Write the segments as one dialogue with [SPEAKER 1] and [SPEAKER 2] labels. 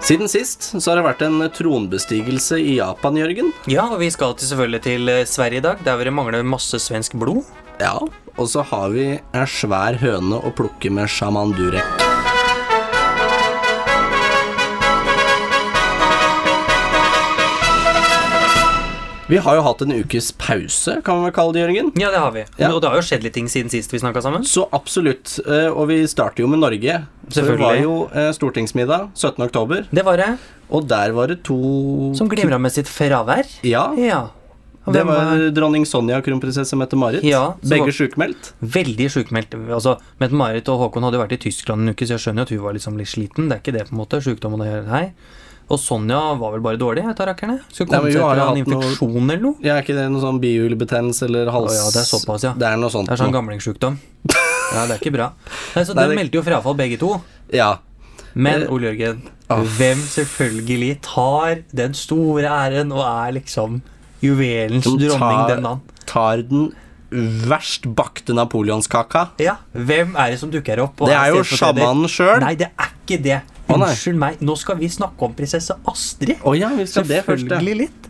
[SPEAKER 1] Siden sist så har det vært en tronbestigelse i Japan, Jørgen.
[SPEAKER 2] Ja, og vi skal til, selvfølgelig til eh, Sverige i dag, der hvor det mangler masse svensk blod.
[SPEAKER 1] Ja. Og så har vi ei svær høne å plukke med sjaman Durek. Vi har jo hatt en ukes pause, kan vi vel kalle det, Jørgen?
[SPEAKER 2] Ja, det har vi.
[SPEAKER 1] Ja.
[SPEAKER 2] Og det har jo skjedd litt ting siden sist vi snakka sammen.
[SPEAKER 1] Så absolutt. eh, Og vi starter jo med Norge. Så Det
[SPEAKER 2] Selvfølgelig.
[SPEAKER 1] var jo eh, stortingsmiddag 17. oktober,
[SPEAKER 2] Det var det.
[SPEAKER 1] og der var det to
[SPEAKER 2] Som glimra med sitt fravær.
[SPEAKER 1] Ja.
[SPEAKER 2] Ja. Og
[SPEAKER 1] Det
[SPEAKER 2] hvem
[SPEAKER 1] var dronning Sonja og kronprinsesse Mette-Marit.
[SPEAKER 2] Ja, så
[SPEAKER 1] Begge
[SPEAKER 2] var-
[SPEAKER 1] sjukmeldt.
[SPEAKER 2] Veldig sjukmeldt. Altså, Mette-Marit og Håkon hadde jo vært i Tyskland en uke, så jeg skjønner jo at hun var liksom litt sliten. Det er ikke det, på en måte. Sjukdom og det hele her. Og Sonja var vel bare dårlig, jeg tar rakkerne. Skulle
[SPEAKER 1] Nei, men hun har
[SPEAKER 2] komme seg til
[SPEAKER 1] jo
[SPEAKER 2] en
[SPEAKER 1] hatt noe-
[SPEAKER 2] infeksjon eller noe.
[SPEAKER 1] Ja, er ikke det noe sånn bihulebetennelse eller hals...
[SPEAKER 2] Å ja, det er såpass, ja.
[SPEAKER 1] Det er noe sånt.
[SPEAKER 2] Det er sånn
[SPEAKER 1] noe.
[SPEAKER 2] gamlingsjukdom. Ja, det er ikke bra. Nei, så
[SPEAKER 1] Nei,
[SPEAKER 2] de
[SPEAKER 1] det-
[SPEAKER 2] meldte jo frafall begge to.
[SPEAKER 1] Ja.
[SPEAKER 2] Men
[SPEAKER 1] Eh,
[SPEAKER 2] Ole Jørgen, hvem selvfølgelig tar den store æren og er liksom juvelens
[SPEAKER 1] Som
[SPEAKER 2] dronning
[SPEAKER 1] tar-
[SPEAKER 2] den dagen?
[SPEAKER 1] Tar den verst bakte napoleonskaka.
[SPEAKER 2] Ja, hvem er det som dukker opp? og
[SPEAKER 1] Det er jo
[SPEAKER 2] stedfortreder?
[SPEAKER 1] sjamanen sjøl.
[SPEAKER 2] Nei, det er ikke det.
[SPEAKER 1] Å, nei.
[SPEAKER 2] Unnskyld meg. Nå skal vi snakke om prinsesse Astrid.
[SPEAKER 1] Å ja, vi skal det først, ja.
[SPEAKER 2] Selvfølgelig litt.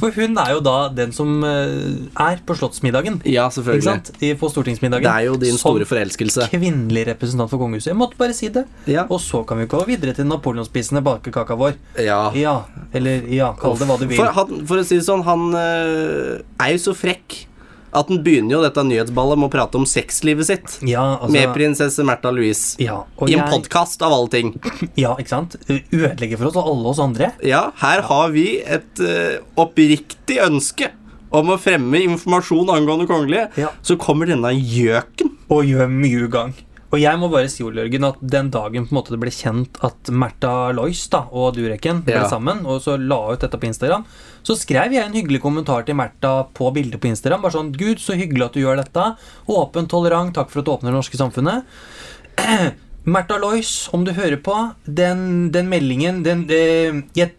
[SPEAKER 2] For hun er jo da den som eh, er på Slottsmiddagen.
[SPEAKER 1] Ja,
[SPEAKER 2] Ikke
[SPEAKER 1] selvfølgelig.
[SPEAKER 2] sant? I- På stortingsmiddagen.
[SPEAKER 1] Det er jo din
[SPEAKER 2] som
[SPEAKER 1] store forelskelse.
[SPEAKER 2] kvinnelig representant for kongehuset. Jeg måtte bare si det.
[SPEAKER 1] Ja.
[SPEAKER 2] Og så kan vi gå videre til napoleonspisende bakekaka vår.
[SPEAKER 1] Ja.
[SPEAKER 2] Ja, eller ja, kall det hva du vil.
[SPEAKER 1] For, han, for å si det sånn, han eh, er jo så frekk at han begynner jo dette nyhetsballet med å prate om sexlivet sitt
[SPEAKER 2] Ja, altså-
[SPEAKER 1] med prinsesse Märtha Louise.
[SPEAKER 2] Ja, og
[SPEAKER 1] I en
[SPEAKER 2] jeg-
[SPEAKER 1] podkast av alle ting.
[SPEAKER 2] Ja, ikke sant? Ødelegger for oss og alle oss andre.
[SPEAKER 1] Ja, her har vi et eh, oppriktig ønske om å fremme informasjon angående kongelige.
[SPEAKER 2] Ja.
[SPEAKER 1] Så kommer denne gjøken.
[SPEAKER 2] Og gjør mye gang. Og jeg må bare si, Ole Jørgen, at den dagen på en måte det ble kjent at Märtha Lois da, og Dureken ble
[SPEAKER 1] Ja.
[SPEAKER 2] sammen, og så la ut dette på Instagram, så skrev jeg en hyggelig kommentar til Märtha på bildet på Instagram. Bare sånn Gud, så hyggelig at du gjør dette. Åpen, tolerant. Takk for at du åpner det norske samfunnet. Märtha Lois, om du hører på, den, den meldingen den, eh, jeg,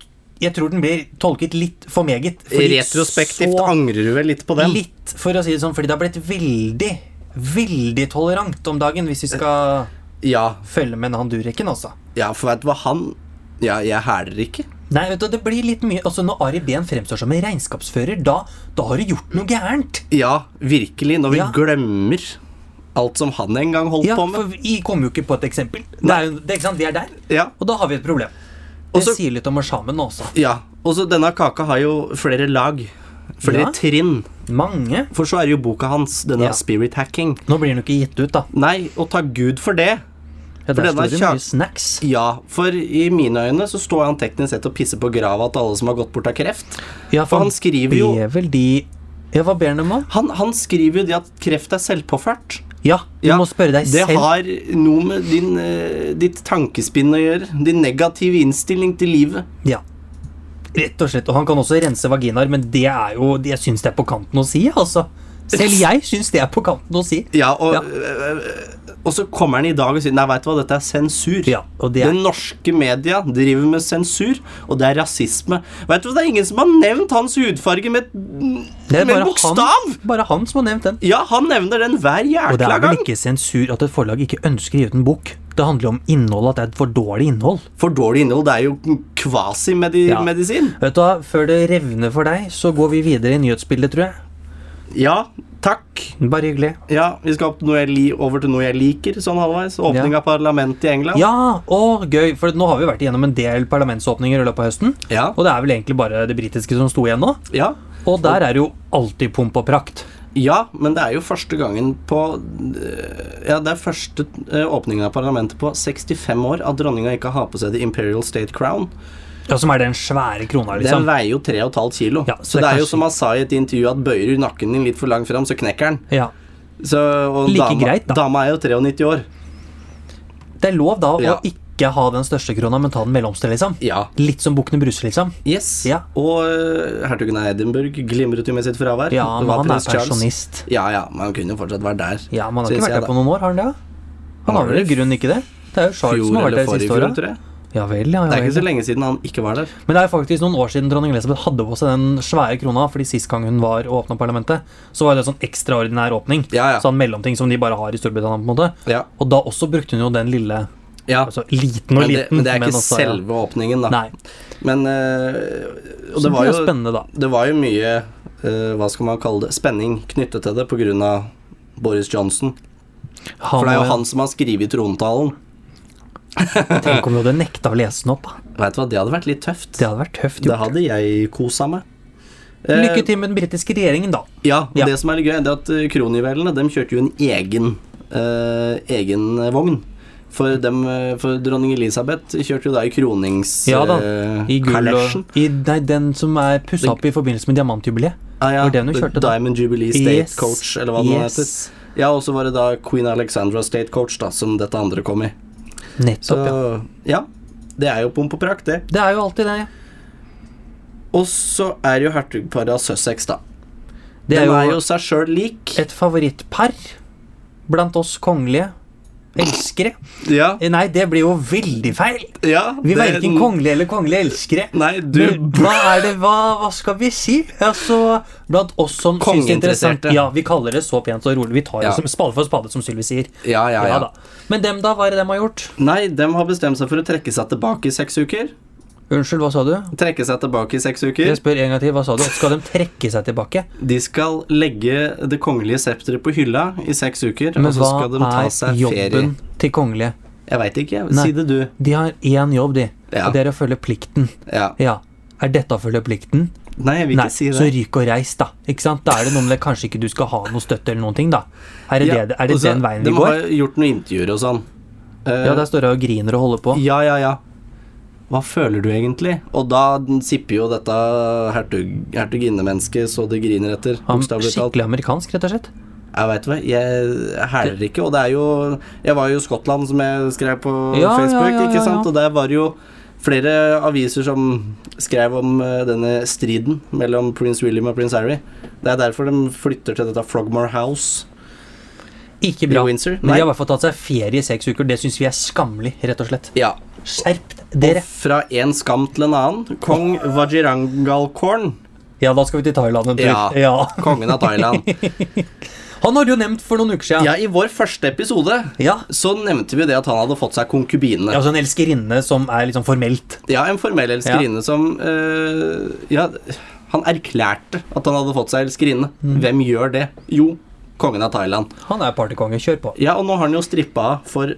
[SPEAKER 2] jeg tror den blir tolket litt for meget. fordi
[SPEAKER 1] Retrospektivt
[SPEAKER 2] så-
[SPEAKER 1] angrer du vel litt på den?
[SPEAKER 2] Litt, for å si det sånn, fordi det har blitt veldig, veldig tolerant om dagen, hvis vi skal
[SPEAKER 1] Ja,
[SPEAKER 2] følge med han Dureken, altså.
[SPEAKER 1] ja, for vet du hva han Ja, jeg hæler ikke.
[SPEAKER 2] Nei, vet du, det blir litt mye Altså, når Ari Behn fremstår som en regnskapsfører, da, da har du gjort noe gærent.
[SPEAKER 1] Ja, virkelig. Når vi
[SPEAKER 2] Ja.
[SPEAKER 1] glemmer alt som han en gang holdt
[SPEAKER 2] Ja,
[SPEAKER 1] på med.
[SPEAKER 2] for vi kommer jo ikke på et eksempel. Det er, jo- det, er ikke sant, Vi er der,
[SPEAKER 1] Ja.
[SPEAKER 2] og da har vi et problem. Det
[SPEAKER 1] Og så-
[SPEAKER 2] sier litt om sjamen også.
[SPEAKER 1] ja. Og så denne kaka har jo flere lag. Flere
[SPEAKER 2] Ja.
[SPEAKER 1] trinn.
[SPEAKER 2] Mange.
[SPEAKER 1] For så er det jo boka hans, denne
[SPEAKER 2] Ja.
[SPEAKER 1] Spirit Hacking.
[SPEAKER 2] Nå blir den jo ikke gitt ut, da.
[SPEAKER 1] Nei, og ta Gud for det.
[SPEAKER 2] Ja, der
[SPEAKER 1] den er
[SPEAKER 2] står det mye
[SPEAKER 1] kjak-
[SPEAKER 2] snacks.
[SPEAKER 1] Ja, for i mine øyne så står han teknisk sett og pisser på grava til alle som har gått bort av kreft.
[SPEAKER 2] Ja,
[SPEAKER 1] For han skriver jo
[SPEAKER 2] ber vel de Ja, hva ber han om, da?
[SPEAKER 1] Han, han skriver jo det at kreft er selvpåført.
[SPEAKER 2] Ja, du
[SPEAKER 1] Ja,
[SPEAKER 2] må spørre deg
[SPEAKER 1] Det
[SPEAKER 2] selv.
[SPEAKER 1] har noe med din, eh, ditt tankespinn å gjøre. Din negative innstilling til livet.
[SPEAKER 2] Ja. Rett og slett. Og han kan også rense vaginaer, men det er jo Jeg syns det er på kanten å si, altså. Selv jeg syns det er på kanten å si.
[SPEAKER 1] Ja, og,
[SPEAKER 2] Ja.
[SPEAKER 1] eh, og så kommer han i dag og sier Nei, veit du hva, dette er sensur.
[SPEAKER 2] Ja, og det er-
[SPEAKER 1] Den norske media driver med sensur, og det er rasisme. Vet du hva, Det er ingen som har nevnt hans hudfarge med,
[SPEAKER 2] Det er
[SPEAKER 1] med en
[SPEAKER 2] bare
[SPEAKER 1] bokstav!
[SPEAKER 2] han, bare han som har nevnt den.
[SPEAKER 1] Ja, han nevner den hver
[SPEAKER 2] Og det
[SPEAKER 1] jækla
[SPEAKER 2] er vel
[SPEAKER 1] gang.
[SPEAKER 2] ikke sensur at et forlag ikke ønsker å gi ut en bok. Det handler om innhold, at det er et for dårlig innhold.
[SPEAKER 1] For dårlig innhold, det er jo
[SPEAKER 2] Ja.
[SPEAKER 1] kvasimedisin.
[SPEAKER 2] Vet du hva, Før det revner for deg, så går vi videre i nyhetsbildet, tror jeg.
[SPEAKER 1] Ja. takk.
[SPEAKER 2] Bare hyggelig.
[SPEAKER 1] Ja, Vi skal opp til noe jeg li over til noe jeg liker, sånn halvveis. Åpning
[SPEAKER 2] Ja.
[SPEAKER 1] av parlamentet i England.
[SPEAKER 2] Ja, å, gøy! For nå har vi vært igjennom en del parlamentsåpninger i løpet av høsten.
[SPEAKER 1] Ja.
[SPEAKER 2] Og det er vel egentlig bare det britiske som sto igjen nå.
[SPEAKER 1] ja.
[SPEAKER 2] Og der er det jo alltid pomp og prakt.
[SPEAKER 1] Ja, men det er jo første gangen på øh, Ja, det er første øh, åpningen av parlamentet på 65 år at dronninga ikke har på seg The Imperial State Crown.
[SPEAKER 2] Ja, som er den svære krona,
[SPEAKER 1] Den
[SPEAKER 2] liksom.
[SPEAKER 1] veier jo 3,5 kilo.
[SPEAKER 2] Ja,
[SPEAKER 1] så det, er jo som han sa i et intervju, at bøyer du nakken din litt for langt fram, så knekker den.
[SPEAKER 2] Ja.
[SPEAKER 1] Så, og
[SPEAKER 2] Like
[SPEAKER 1] dama,
[SPEAKER 2] greit, da.
[SPEAKER 1] dama er jo 93 år.
[SPEAKER 2] Det er lov da
[SPEAKER 1] Ja.
[SPEAKER 2] å ikke ha den største krona, men ta den mellomste, liksom.
[SPEAKER 1] Ja.
[SPEAKER 2] Litt som Bukkene Bruse, liksom.
[SPEAKER 1] Yes.
[SPEAKER 2] Ja.
[SPEAKER 1] Og øh, hertugen av Edinburgh glimret jo med sitt fravær.
[SPEAKER 2] Ja,
[SPEAKER 1] Det
[SPEAKER 2] men
[SPEAKER 1] var
[SPEAKER 2] han er
[SPEAKER 1] prins Charles.
[SPEAKER 2] pensjonist.
[SPEAKER 1] Ja, ja, men han kunne jo fortsatt vært der.
[SPEAKER 2] Ja, men han har
[SPEAKER 1] Synes
[SPEAKER 2] ikke
[SPEAKER 1] jeg
[SPEAKER 2] vært der
[SPEAKER 1] da.
[SPEAKER 2] på noen år, har han det? Han har vel i grunnen ikke det? Det er jo Charles
[SPEAKER 1] Fjor
[SPEAKER 2] som har vært
[SPEAKER 1] eller
[SPEAKER 2] der de
[SPEAKER 1] forrige
[SPEAKER 2] siste
[SPEAKER 1] fjor,
[SPEAKER 2] året.
[SPEAKER 1] tror jeg.
[SPEAKER 2] Ja vel, ja,
[SPEAKER 1] Det er
[SPEAKER 2] ja
[SPEAKER 1] ikke så
[SPEAKER 2] vel.
[SPEAKER 1] lenge siden han ikke var der.
[SPEAKER 2] Men det er faktisk noen år siden dronning Elizabeth hadde på seg den svære krona, fordi sist gang hun var og åpna parlamentet, så var det en sånn ekstraordinær åpning.
[SPEAKER 1] Ja, ja.
[SPEAKER 2] Sånn mellomting som de bare har i Storbritannia, på en måte.
[SPEAKER 1] Ja.
[SPEAKER 2] Og da også brukte hun jo den lille
[SPEAKER 1] Ja,
[SPEAKER 2] Altså liten og
[SPEAKER 1] men det,
[SPEAKER 2] liten,
[SPEAKER 1] men det er ikke
[SPEAKER 2] også, ja.
[SPEAKER 1] selve åpningen, da.
[SPEAKER 2] Nei.
[SPEAKER 1] Men eh, Og
[SPEAKER 2] Så
[SPEAKER 1] det var
[SPEAKER 2] blir
[SPEAKER 1] jo
[SPEAKER 2] spennende, da.
[SPEAKER 1] Det var jo mye eh, hva skal man kalle det, spenning knyttet til det pga. Boris Johnson.
[SPEAKER 2] Han,
[SPEAKER 1] For det er jo
[SPEAKER 2] og-
[SPEAKER 1] han eh, som har skrevet trontalen.
[SPEAKER 2] Tenk om du hadde nekta å lese den opp. da.
[SPEAKER 1] Vet du hva, Det hadde vært litt tøft.
[SPEAKER 2] Det hadde vært tøft
[SPEAKER 1] Det
[SPEAKER 2] gjort.
[SPEAKER 1] hadde jeg kosa meg.
[SPEAKER 2] Lykke til med den britiske regjeringen, da.
[SPEAKER 1] Ja, og
[SPEAKER 2] Ja.
[SPEAKER 1] det som er litt gøy, det er at eh, kronjuvelene de kjørte jo en egen, eh, egen eh, vogn. For, dem, eh, for dronning Elisabeth kjørte jo da i kronings...
[SPEAKER 2] Ja da,
[SPEAKER 1] eh,
[SPEAKER 2] I gull
[SPEAKER 1] kalesjen.
[SPEAKER 2] og i, Nei, den som er pussa opp i forbindelse med diamantjubileet.
[SPEAKER 1] Ah, ja,
[SPEAKER 2] var det hun
[SPEAKER 1] The
[SPEAKER 2] kjørte da.
[SPEAKER 1] Diamond Jubilee State
[SPEAKER 2] Yes,
[SPEAKER 1] Coach, eller hva det nå heter.
[SPEAKER 2] yes.
[SPEAKER 1] Ja, og så var det da Queen Alexandra State Coach, da, som dette andre kom i. Så
[SPEAKER 2] Nettopp, ja.
[SPEAKER 1] ja, det er jo pomp og prakt, det.
[SPEAKER 2] Det er jo alltid det. ja.
[SPEAKER 1] Og så er jo hertugparet av Sussex, da.
[SPEAKER 2] Det
[SPEAKER 1] de
[SPEAKER 2] er jo
[SPEAKER 1] er jo seg sjøl lik.
[SPEAKER 2] et favorittpar blant oss kongelige elskere.
[SPEAKER 1] Ja,
[SPEAKER 2] Eh, Nei, det blir jo veldig feil.
[SPEAKER 1] ja.
[SPEAKER 2] Vi
[SPEAKER 1] det-
[SPEAKER 2] er verken kongelige eller kongelige elskere.
[SPEAKER 1] Nei,
[SPEAKER 2] Men
[SPEAKER 1] du
[SPEAKER 2] hva er det, hva, hva skal vi si? Altså, blant oss som syns det er interessant
[SPEAKER 1] Kongeinteresserte.
[SPEAKER 2] Ja, vi kaller det så pent og rolig. Vi tar det
[SPEAKER 1] Ja.
[SPEAKER 2] som spade for spade, som Sylvi sier.
[SPEAKER 1] Ja, ja,
[SPEAKER 2] Ja
[SPEAKER 1] ja.
[SPEAKER 2] da. Men dem, da? Hva er det dem har gjort?
[SPEAKER 1] Nei, de har bestemt seg for å trekke seg tilbake i seks uker.
[SPEAKER 2] Unnskyld, hva sa du?
[SPEAKER 1] Trekke seg tilbake i seks
[SPEAKER 2] Jeg
[SPEAKER 1] uker.
[SPEAKER 2] spør en gang til, hva sa du? Skal de trekke seg tilbake?
[SPEAKER 1] De skal legge det kongelige septeret på hylla i seks uker,
[SPEAKER 2] Men
[SPEAKER 1] og så skal de
[SPEAKER 2] hva
[SPEAKER 1] ta
[SPEAKER 2] er
[SPEAKER 1] seg ferie.
[SPEAKER 2] jobben til kongelige?
[SPEAKER 1] Jeg veit ikke.
[SPEAKER 2] Nei.
[SPEAKER 1] Si det, du.
[SPEAKER 2] De har én jobb, de.
[SPEAKER 1] Ja.
[SPEAKER 2] Og det er å følge plikten.
[SPEAKER 1] Ja.
[SPEAKER 2] Ja. Er dette å følge plikten?
[SPEAKER 1] Nei, jeg vil
[SPEAKER 2] Nei,
[SPEAKER 1] ikke si
[SPEAKER 2] så
[SPEAKER 1] det.
[SPEAKER 2] ryk og reis, da. Ikke sant? Da er det noe med det kanskje ikke du skal ha noe støtte eller noen ting, da. Er det,
[SPEAKER 1] Ja,
[SPEAKER 2] det, er det
[SPEAKER 1] og så-
[SPEAKER 2] den veien vi
[SPEAKER 1] De
[SPEAKER 2] går?
[SPEAKER 1] har gjort noen intervjuer og sånn. Eh,
[SPEAKER 2] Ja, der står jeg og griner og holder på.
[SPEAKER 1] Ja, ja, ja. Hva føler du egentlig? Og da den sipper jo dette hertug, hertuginnemennesket så det griner etter.
[SPEAKER 2] Am-
[SPEAKER 1] Bokstavelig talt.
[SPEAKER 2] Skikkelig amerikansk, rett og slett.
[SPEAKER 1] Jeg veit hva, jeg hæler ikke. Og det er jo Jeg var jo i Skottland, som jeg skrev på
[SPEAKER 2] Ja,
[SPEAKER 1] Facebook,
[SPEAKER 2] ja, ja, ja,
[SPEAKER 1] ikke sant?
[SPEAKER 2] ja.
[SPEAKER 1] Og der var det jo flere aviser som skrev om eh, denne striden mellom prins William og prins Harry. Det er derfor de flytter til dette Frogmore House
[SPEAKER 2] Ikke
[SPEAKER 1] i
[SPEAKER 2] bra.
[SPEAKER 1] Windsor.
[SPEAKER 2] Men de har i hvert fall tatt seg ferie i seks uker. Det syns vi er skammelig, rett og slett.
[SPEAKER 1] Ja.
[SPEAKER 2] Skjerp
[SPEAKER 1] Og
[SPEAKER 2] dere!
[SPEAKER 1] fra en skam til en annen. Kong Wajirangalkorn,
[SPEAKER 2] Ja, da skal vi til Thailand en tur.
[SPEAKER 1] Ja. kongen av Thailand.
[SPEAKER 2] Han har du jo nevnt for noen uker siden.
[SPEAKER 1] Ja, i vår første episode
[SPEAKER 2] Ja.
[SPEAKER 1] så nevnte vi det at han hadde fått seg konkubine.
[SPEAKER 2] Altså en elskerinne som er liksom formelt.
[SPEAKER 1] Ja, en formell elskerinne som eh, Ja, han erklærte at han hadde fått seg elskerinne.
[SPEAKER 2] Mm.
[SPEAKER 1] Hvem gjør det? Jo, kongen av Thailand.
[SPEAKER 2] Han er partykonge. Kjør på.
[SPEAKER 1] Ja, og nå har han jo strippa av for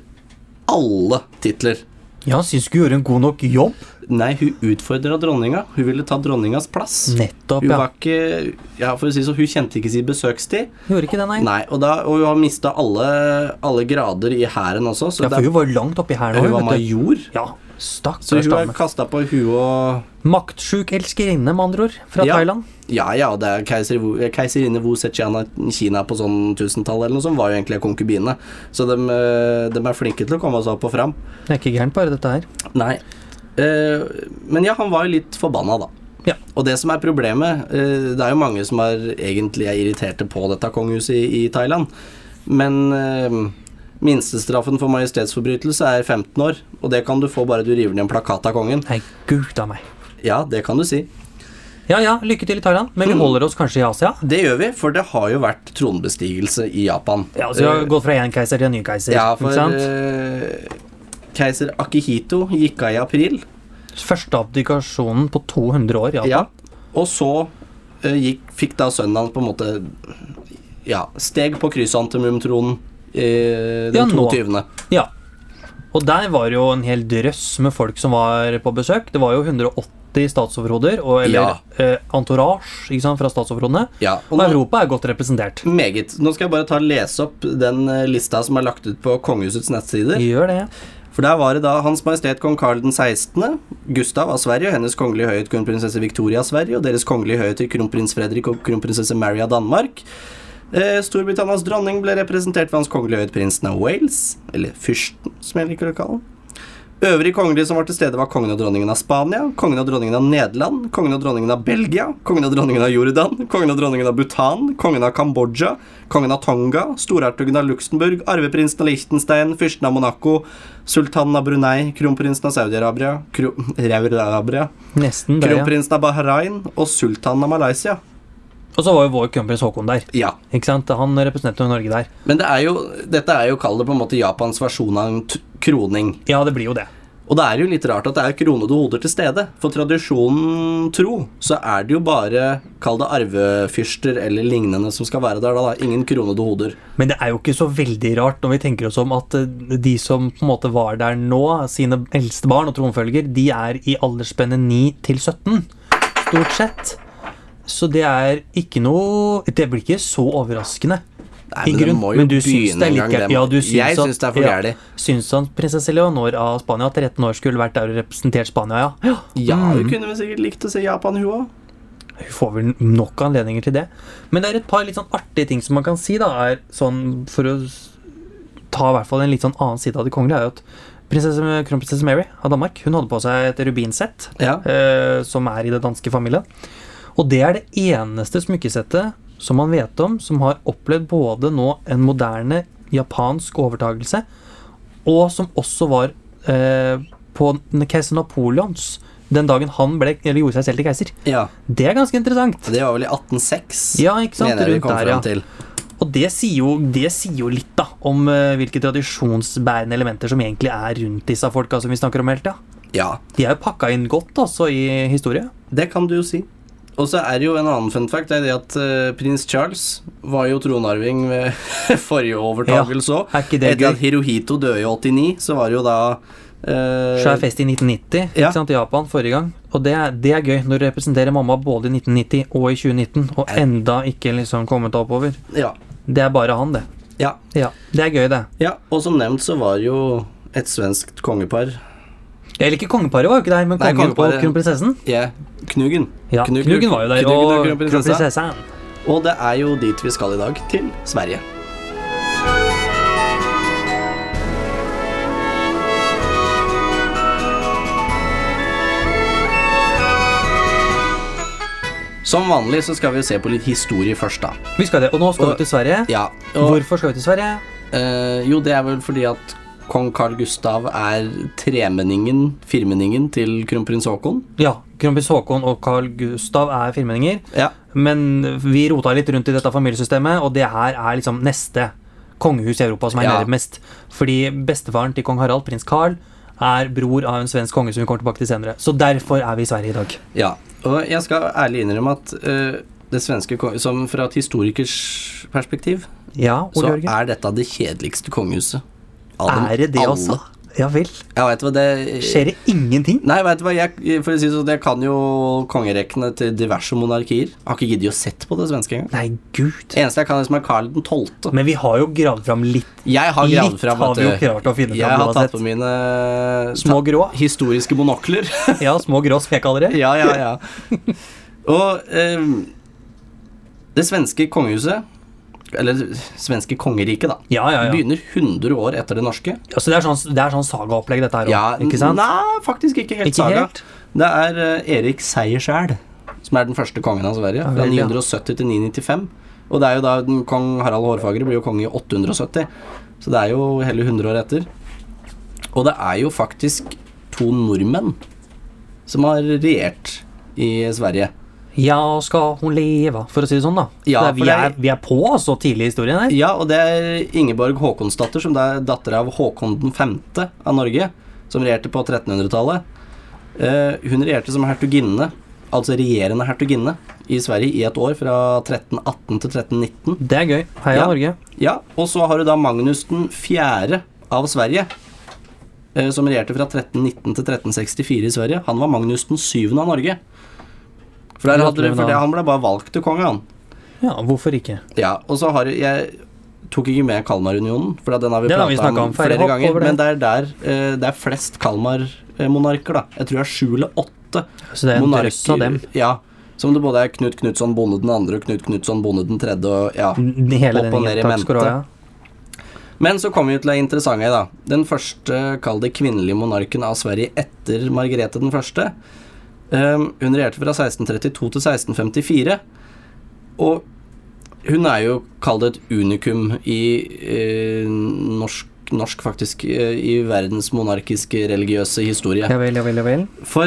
[SPEAKER 1] alle titler.
[SPEAKER 2] Ja, han syns du gjorde en god nok jobb.
[SPEAKER 1] Nei, hun utfordra dronninga. Hun ville ta dronningas plass.
[SPEAKER 2] Nettopp,
[SPEAKER 1] Hun
[SPEAKER 2] ja.
[SPEAKER 1] var ikke Ja, for å si det sånn, hun kjente ikke sin besøkstid.
[SPEAKER 2] Gjorde ikke det, nei.
[SPEAKER 1] Nei, og, da, og hun har mista alle, alle grader i hæren også, så
[SPEAKER 2] Ja, for hun var langt oppi her
[SPEAKER 1] det,
[SPEAKER 2] nå.
[SPEAKER 1] hun var
[SPEAKER 2] vet du.
[SPEAKER 1] major.
[SPEAKER 2] Ja,
[SPEAKER 1] Så
[SPEAKER 2] stakkars
[SPEAKER 1] hun er
[SPEAKER 2] dame.
[SPEAKER 1] kasta på huet og
[SPEAKER 2] Maktsjuk elskerinne, med andre ord, fra
[SPEAKER 1] Ja.
[SPEAKER 2] Thailand.
[SPEAKER 1] Ja, ja, og det er keiser, keiserinne Wu Zetiana i Kina på sånn tusentallet eller noe sånt, var jo egentlig en konkubine. Så de, er flinke til å komme oss opp og fram.
[SPEAKER 2] Det er ikke gærent, bare dette her.
[SPEAKER 1] Nei. Eh, men ja, han var jo litt forbanna, da.
[SPEAKER 2] Ja.
[SPEAKER 1] Og det som er problemet eh, Det er jo mange som er, egentlig er irriterte på dette kongehuset i, i Thailand, men eh, minstestraffen for majestetsforbrytelse er 15 år, og det kan du få bare du river ned en plakat av kongen.
[SPEAKER 2] Nei, gud a meg.
[SPEAKER 1] Ja, det kan du si.
[SPEAKER 2] Ja ja, lykke til i Thailand, men
[SPEAKER 1] Mm.
[SPEAKER 2] vi holder oss kanskje i Asia?
[SPEAKER 1] Det gjør vi, for det har jo vært tronbestigelse i Japan.
[SPEAKER 2] Ja, så vi
[SPEAKER 1] Eh,
[SPEAKER 2] har gått fra én keiser til en ny keiser.
[SPEAKER 1] Ja,
[SPEAKER 2] ikke
[SPEAKER 1] for
[SPEAKER 2] sant?
[SPEAKER 1] eh, keiser Akihito gikk av i april.
[SPEAKER 2] Første abdikasjonen på 200 år, ja.
[SPEAKER 1] Ja. Og så eh, gikk, fikk da sønnen hans på en måte Ja, steg på krysantemumtronen eh,
[SPEAKER 2] Ja,
[SPEAKER 1] den
[SPEAKER 2] nå.
[SPEAKER 1] 22.
[SPEAKER 2] ja. Og der var det jo en hel drøss med folk som var på besøk. Det var jo 180 statsoverhoder, og, eller
[SPEAKER 1] Ja.
[SPEAKER 2] eh, entourage ikke sant, fra statsoverhodene.
[SPEAKER 1] Ja, og
[SPEAKER 2] Og
[SPEAKER 1] nå,
[SPEAKER 2] Europa er godt representert.
[SPEAKER 1] meget. Nå skal jeg bare ta og lese opp den eh, lista som er lagt ut på kongehusets nettsider.
[SPEAKER 2] Gjør det.
[SPEAKER 1] For der var det da Hans Majestet Kong Karl den 16., Gustav av Sverige, og hennes kongelige høyhet kronprinsesse Victoria av Sverige, og deres kongelige høyheter kronprins Fredrik og kronprinsesse Mary av Danmark. Eh, Storbritannias dronning ble representert ved hans kongelige høyhet prinsen av Wales, eller fyrsten, som jeg liker å kalle han. Øvrige kongelige som var til stede, var kongen og dronningen av Spania, kongen og dronningen av Nederland, kongen og dronningen av Belgia, kongen og dronningen av Jordan, kongen og dronningen av Bhutan, kongen av Kambodsja, kongen av Tonga, storhertugen av Luxembourg, arveprinsen av Liechtenstein, fyrsten av Monaco, sultanen av Brunei, kronprinsen av Saudi-Arabia, kro- Raur-Arabia,
[SPEAKER 2] Nesten der, ja.
[SPEAKER 1] kronprinsen av Bahrain og sultanen av Malaysia.
[SPEAKER 2] Og så var jo vår kronprins Haakon der.
[SPEAKER 1] Ja.
[SPEAKER 2] Ikke sant? Han representerte jo Norge der.
[SPEAKER 1] Men det er jo, dette er jo, kall det på en måte Japans versjon av en t- kroning.
[SPEAKER 2] Ja, det blir jo det.
[SPEAKER 1] Og det er jo litt rart at det er kronede hoder til stede. For tradisjonen tro så er det jo bare, kall det arvefyrster eller lignende, som skal være der da. da. Ingen kronede hoder.
[SPEAKER 2] Men det er jo ikke så veldig rart når vi tenker oss om at eh, de som på en måte var der nå, sine eldste barn og tronfølger, de er i aldersspennet 9 til 17. Stort sett. Så det er ikke noe Det blir ikke så overraskende.
[SPEAKER 1] Nei,
[SPEAKER 2] i
[SPEAKER 1] men det
[SPEAKER 2] grunn,
[SPEAKER 1] må jo begynne en gang, det
[SPEAKER 2] gærent.
[SPEAKER 1] må-
[SPEAKER 2] Ja, du syns
[SPEAKER 1] Jeg
[SPEAKER 2] at-
[SPEAKER 1] syns det er for
[SPEAKER 2] ja,
[SPEAKER 1] jævlig.
[SPEAKER 2] Syns han prinsesse Leonor av Spania 13 år skulle vært der og representert Spania, ja? ja.
[SPEAKER 1] Ja,
[SPEAKER 2] Mm.
[SPEAKER 1] hun kunne vel sikkert likt å se Japan, hun òg.
[SPEAKER 2] Vi får vel nok anledninger til det. Men det er et par litt sånn artige ting som man kan si, da, er sånn for å s- ta i hvert fall en litt sånn annen side av det kongelige, er jo at prinsesse, kronprinsesse Mary av Danmark hun hadde på seg et rubinsett,
[SPEAKER 1] Ja.
[SPEAKER 2] eh, som er i det danske familien. Og det er det eneste smykkesettet som man vet om, som har opplevd både nå en moderne japansk overtagelse, og som også var eh, på n- keiser Napoleons, den dagen han ble, eller gjorde seg selv til keiser.
[SPEAKER 1] ja.
[SPEAKER 2] Det er ganske interessant.
[SPEAKER 1] Det var vel i 1806,
[SPEAKER 2] Ja, ikke sant?
[SPEAKER 1] mener jeg vi
[SPEAKER 2] Rundt
[SPEAKER 1] kom
[SPEAKER 2] der,
[SPEAKER 1] fram
[SPEAKER 2] ja.
[SPEAKER 1] til.
[SPEAKER 2] Og det sier jo, det sier jo litt da, om eh, hvilke tradisjonsbærende elementer som egentlig er rundt disse folka som vi snakker om hele tida.
[SPEAKER 1] Ja,
[SPEAKER 2] De er jo pakka inn godt altså, i historie.
[SPEAKER 1] det kan du jo si. Og så er det jo en annen fun fact, det er det at eh, prins Charles var jo tronarving ved forrige overtakelse òg.
[SPEAKER 2] Er ikke det
[SPEAKER 1] Etter at
[SPEAKER 2] gøy?
[SPEAKER 1] Hirohito døde i 89, så var det jo da eh,
[SPEAKER 2] Svær fest i 1990
[SPEAKER 1] Ja.
[SPEAKER 2] ikke sant, i Japan forrige gang. Og det, er- det er gøy når du representerer mamma både i 1990 og i 2019, og enda ikke liksom kommet oppover.
[SPEAKER 1] ja,
[SPEAKER 2] Det er bare han, det.
[SPEAKER 1] ja,
[SPEAKER 2] Ja, Det er gøy, det.
[SPEAKER 1] ja. Og som nevnt så var det jo et svenskt kongepar
[SPEAKER 2] Eller ikke kongeparet var jo ikke der, men
[SPEAKER 1] Nei,
[SPEAKER 2] kongen og
[SPEAKER 1] kongeparet-
[SPEAKER 2] kronprinsessen.
[SPEAKER 1] Ja, Knugen.
[SPEAKER 2] Ja,
[SPEAKER 1] Knug-
[SPEAKER 2] Knugen var jo der,
[SPEAKER 1] Knugen og
[SPEAKER 2] og
[SPEAKER 1] kronprinsessa.
[SPEAKER 2] kronprinsessen.
[SPEAKER 1] Og det er jo dit vi skal i dag, til Sverige. Som vanlig så skal vi jo se på litt historie først, da.
[SPEAKER 2] Vi skal det. Og nå skal vi til Sverige.
[SPEAKER 1] Ja, og,
[SPEAKER 2] Hvorfor skal vi til Sverige?
[SPEAKER 1] eh, jo, det er vel fordi at kong Carl Gustav er tremenningen, firmenningen, til kronprins Haakon.
[SPEAKER 2] Ja, kronprins Haakon og Carl Gustav er firmenninger.
[SPEAKER 1] Ja.
[SPEAKER 2] Men vi rota litt rundt i dette familiesystemet, og det her er liksom neste kongehus i Europa som er
[SPEAKER 1] Ja.
[SPEAKER 2] nærmest. Fordi bestefaren til kong Harald, prins Carl, er bror av en svensk konge som vi kommer tilbake til senere. Så derfor er vi i Sverige i dag.
[SPEAKER 1] Ja, og jeg skal ærlig innrømme at eh, det svenske kong- som fra et historikers perspektiv,
[SPEAKER 2] Ja, Ole
[SPEAKER 1] så
[SPEAKER 2] Jørgen.
[SPEAKER 1] er dette det kjedeligste kongehuset. Av dem
[SPEAKER 2] Er det det,
[SPEAKER 1] alle.
[SPEAKER 2] altså? Ja vel.
[SPEAKER 1] Ja, vet du hva, det
[SPEAKER 2] Skjer det ingenting?
[SPEAKER 1] Nei, vet du hva, jeg, for å si det sånn, jeg kan jo kongerekkene til diverse monarkier. Jeg har ikke giddet å sett på det svenske engang.
[SPEAKER 2] Nei, gud.
[SPEAKER 1] Det eneste jeg kan, er som er Karl den 12.
[SPEAKER 2] Men vi har jo gravd fram litt.
[SPEAKER 1] Jeg har gravd
[SPEAKER 2] Litt
[SPEAKER 1] fram
[SPEAKER 2] har vi jo
[SPEAKER 1] vet du.
[SPEAKER 2] klart å finne
[SPEAKER 1] Jeg
[SPEAKER 2] fram
[SPEAKER 1] har tatt
[SPEAKER 2] uansett.
[SPEAKER 1] på mine eh,
[SPEAKER 2] Små grå.
[SPEAKER 1] historiske monokler.
[SPEAKER 2] Ja, små grå, som jeg kaller det.
[SPEAKER 1] ja, ja, ja. Og ehm, det svenske kongehuset, eller det svenske kongeriket, da,
[SPEAKER 2] Ja, ja, ja.
[SPEAKER 1] begynner 100 år etter det norske.
[SPEAKER 2] Ja, så det er sånn, det er sånn sagaopplegg, dette her
[SPEAKER 1] Ja,
[SPEAKER 2] òg. ikke sant?
[SPEAKER 1] Nei, faktisk ikke helt
[SPEAKER 2] Ikke
[SPEAKER 1] saga.
[SPEAKER 2] helt?
[SPEAKER 1] Det er eh, Erik Seierskjæl som er den første kongen av Sverige. Fra
[SPEAKER 2] vel, ja.
[SPEAKER 1] 970 til 995. Og det er jo da den kong Harald Hårfagre blir jo konge i 870. Så det er jo hele 100 år etter. Og det er jo faktisk to nordmenn som har regjert i Sverige.
[SPEAKER 2] Ja, skal hun leve, for å si det sånn, da.
[SPEAKER 1] Ja,
[SPEAKER 2] det er, vi,
[SPEAKER 1] for det er-
[SPEAKER 2] er, vi er på altså tidlig i historien her.
[SPEAKER 1] Ja, og det er Ingeborg Håkonsdatter, som da er datter av Håkon 5. av Norge, som regjerte på 1300-tallet. Eh, hun regjerte som hertuginne, altså regjerende hertuginne, i Sverige i et år, fra 1318 til 1319.
[SPEAKER 2] Det er gøy. Heia
[SPEAKER 1] Ja.
[SPEAKER 2] Norge.
[SPEAKER 1] Ja, og så har du da Magnus den 4. av Sverige, eh, som regjerte fra 1319 til 1364 i Sverige. Han var Magnus den 7. av Norge. For, der hadde, for det, han ble bare valgt til konge, han.
[SPEAKER 2] Ja, hvorfor ikke?
[SPEAKER 1] Ja, og så har jeg tok ikke med Kalmarunionen, for den har vi
[SPEAKER 2] Den har vi
[SPEAKER 1] prata om,
[SPEAKER 2] snakket om. Færre
[SPEAKER 1] flere
[SPEAKER 2] hopp
[SPEAKER 1] ganger.
[SPEAKER 2] over det.
[SPEAKER 1] Men det er der eh, det er flest Kalmar-monarker, da. Jeg tror det er sju eller åtte
[SPEAKER 2] Så det er en drøss av dem.
[SPEAKER 1] Ja, som det både er Knut Knutson Bonde den andre og Knut Knutson Bonde den tredje og ja.
[SPEAKER 2] N- Hele
[SPEAKER 1] Opp og
[SPEAKER 2] den
[SPEAKER 1] ned i
[SPEAKER 2] takk skal du ha.
[SPEAKER 1] mente. Men så kommer vi til det interessante, da. Den første, kall det kvinnelige monarken av Sverige etter Margrethe den første. Um, hun regjerte fra 1632 til 1654. Og hun er jo, kall det et unikum i eh, norsk, norsk faktisk, eh, i verdens monarkiske religiøse historie.
[SPEAKER 2] Ja vel, ja vel, ja vel.
[SPEAKER 1] For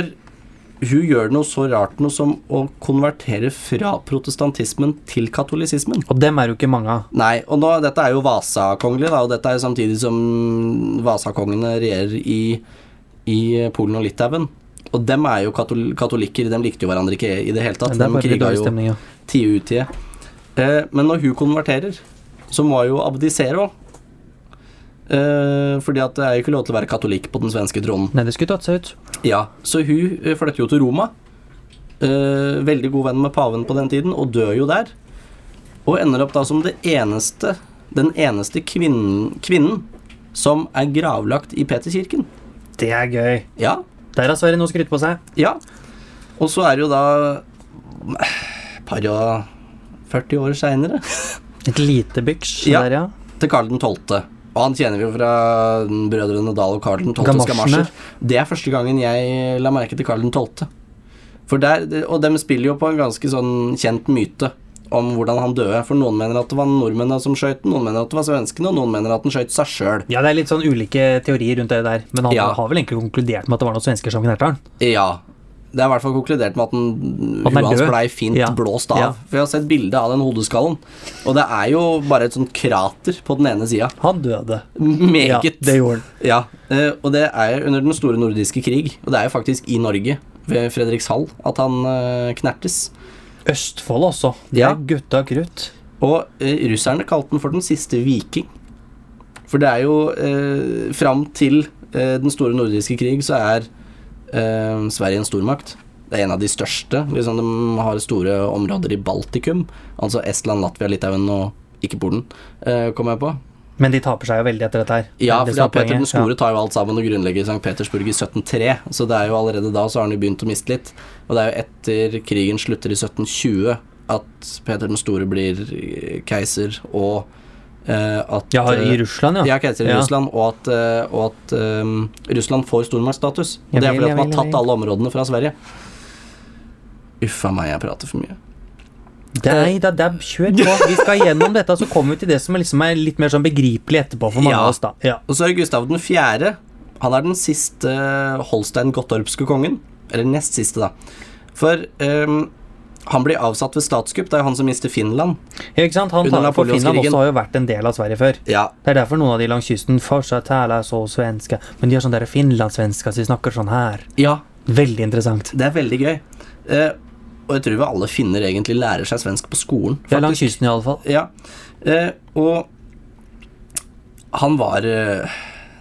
[SPEAKER 1] hun gjør noe så rart noe som å konvertere fra protestantismen til katolisismen.
[SPEAKER 2] Og dem er jo ikke mange av.
[SPEAKER 1] Nei, og nå, dette er jo Vasakongelig, da, og dette er jo samtidig som Vasakongene regjerer i, i Polen og Litauen. Og dem er jo katol katolikker, dem likte jo hverandre ikke i det hele tatt.
[SPEAKER 2] Det er
[SPEAKER 1] Dem
[SPEAKER 2] bare litt
[SPEAKER 1] kriga
[SPEAKER 2] dårlig
[SPEAKER 1] jo
[SPEAKER 2] stemning, ja.
[SPEAKER 1] tide ut tide. Eh, men når hun konverterer, så må hun jo abdisere òg. Eh, fordi at det er jo ikke lov til å være katolikk på den svenske tronen.
[SPEAKER 2] Nei, det skulle tatt seg ut.
[SPEAKER 1] Ja, Så hun eh, flytter jo til Roma. Eh, veldig god venn med paven på den tiden, og dør jo der. Og ender opp da som det eneste, den eneste kvinnen, kvinnen som er gravlagt i Peterkirken.
[SPEAKER 2] Det er gøy.
[SPEAKER 1] Ja,
[SPEAKER 2] Der har Sverige noe å skryte på seg.
[SPEAKER 1] ja. Og så er det jo da eh, par og 40 år seinere
[SPEAKER 2] Et lite byks
[SPEAKER 1] Ja.
[SPEAKER 2] der, ja.
[SPEAKER 1] til Karl 12. Og han kjenner vi jo fra Brødrene Dal og Karl 12.
[SPEAKER 2] Gamasjene.
[SPEAKER 1] Gamasjer. Det er første gangen jeg la merke til Karl 12. For der, og de spiller jo på en ganske sånn kjent myte om hvordan han døde. For noen mener at det var nordmennene som skøyt den, noen mener at det var svenskene, og noen mener at han skøyt seg sjøl.
[SPEAKER 2] Ja, det er litt sånn ulike teorier rundt det der, men han
[SPEAKER 1] Ja.
[SPEAKER 2] har vel egentlig konkludert med at det var noen svensker som knerta han.
[SPEAKER 1] Ja. Det er i hvert fall konkludert med at den,
[SPEAKER 2] At den er
[SPEAKER 1] huet hans
[SPEAKER 2] død.
[SPEAKER 1] blei fint
[SPEAKER 2] Ja.
[SPEAKER 1] blåst av.
[SPEAKER 2] Ja.
[SPEAKER 1] For jeg har sett bilde av den hodeskallen, og det er jo bare et sånt krater på den ene sida.
[SPEAKER 2] Han døde. Ja,
[SPEAKER 1] Meget.
[SPEAKER 2] det gjorde han.
[SPEAKER 1] Ja, eh, og det er under den store nordiske krig, og det er jo faktisk i Norge, ved Fredrikshall, at han eh, knertes.
[SPEAKER 2] Østfold også. De
[SPEAKER 1] Ja.
[SPEAKER 2] er gutta krutt.
[SPEAKER 1] Og eh, russerne kalte den for den siste viking. For det er jo eh, Fram til eh, den store nordiske krig så er eh, Sverige en stormakt. Det er en av de største. Liksom de har store områder i Baltikum. Altså Estland, Latvia, Litauen og ikke Polen, eh, kom jeg på.
[SPEAKER 2] Men de taper seg jo veldig etter dette her.
[SPEAKER 1] Ja,
[SPEAKER 2] Det
[SPEAKER 1] fordi
[SPEAKER 2] som
[SPEAKER 1] at
[SPEAKER 2] er
[SPEAKER 1] Peter
[SPEAKER 2] poenget.
[SPEAKER 1] den store tar jo alt sammen og grunnlegger St. Petersburg i 1703. Så det er jo allerede da så har han jo begynt å miste litt. Og det er jo etter krigen slutter i 1720 at Peter den store blir eh, keiser, og eh, at
[SPEAKER 2] Ja, ja
[SPEAKER 1] eh,
[SPEAKER 2] i Russland, ja.
[SPEAKER 1] ja, keiser i
[SPEAKER 2] Ja.
[SPEAKER 1] Russland, og at, eh, og at eh, Russland får stormaktsstatus. Og
[SPEAKER 2] Ja
[SPEAKER 1] det er
[SPEAKER 2] vel,
[SPEAKER 1] fordi
[SPEAKER 2] ja
[SPEAKER 1] at man har
[SPEAKER 2] vel, ja
[SPEAKER 1] tatt
[SPEAKER 2] vel.
[SPEAKER 1] alle områdene fra Sverige. Uffa meg, jeg prater for mye.
[SPEAKER 2] Nei da, dab, kjør på. Vi skal gjennom dette, så kommer vi til det som er liksom er litt mer sånn begripelig etterpå for mange
[SPEAKER 1] Ja.
[SPEAKER 2] av oss, da. Ja.
[SPEAKER 1] Og så er det Gustav den fjerde. Han er den siste Holstein-Gottorpske kongen. Eller nest siste, da. For ehm, han blir avsatt ved statskupp. Det er jo han som mister Finland.
[SPEAKER 2] Ja, ikke sant? Han
[SPEAKER 1] Under
[SPEAKER 2] tar for Finland
[SPEAKER 1] Napoleonskrigen.
[SPEAKER 2] også har jo vært en del av Sverige før.
[SPEAKER 1] Ja.
[SPEAKER 2] Det er derfor noen av de langs kysten fortsatt taler så svenska, men de er sånn der finlandssvenska, så de snakker sånn her. Veldig interessant.
[SPEAKER 1] det er veldig gøy. Eh, og jeg tror vi alle finner egentlig lærer seg svensk på skolen.
[SPEAKER 2] Ja, langs kysten i alle fall.
[SPEAKER 1] Ja. Eh, og han var eh,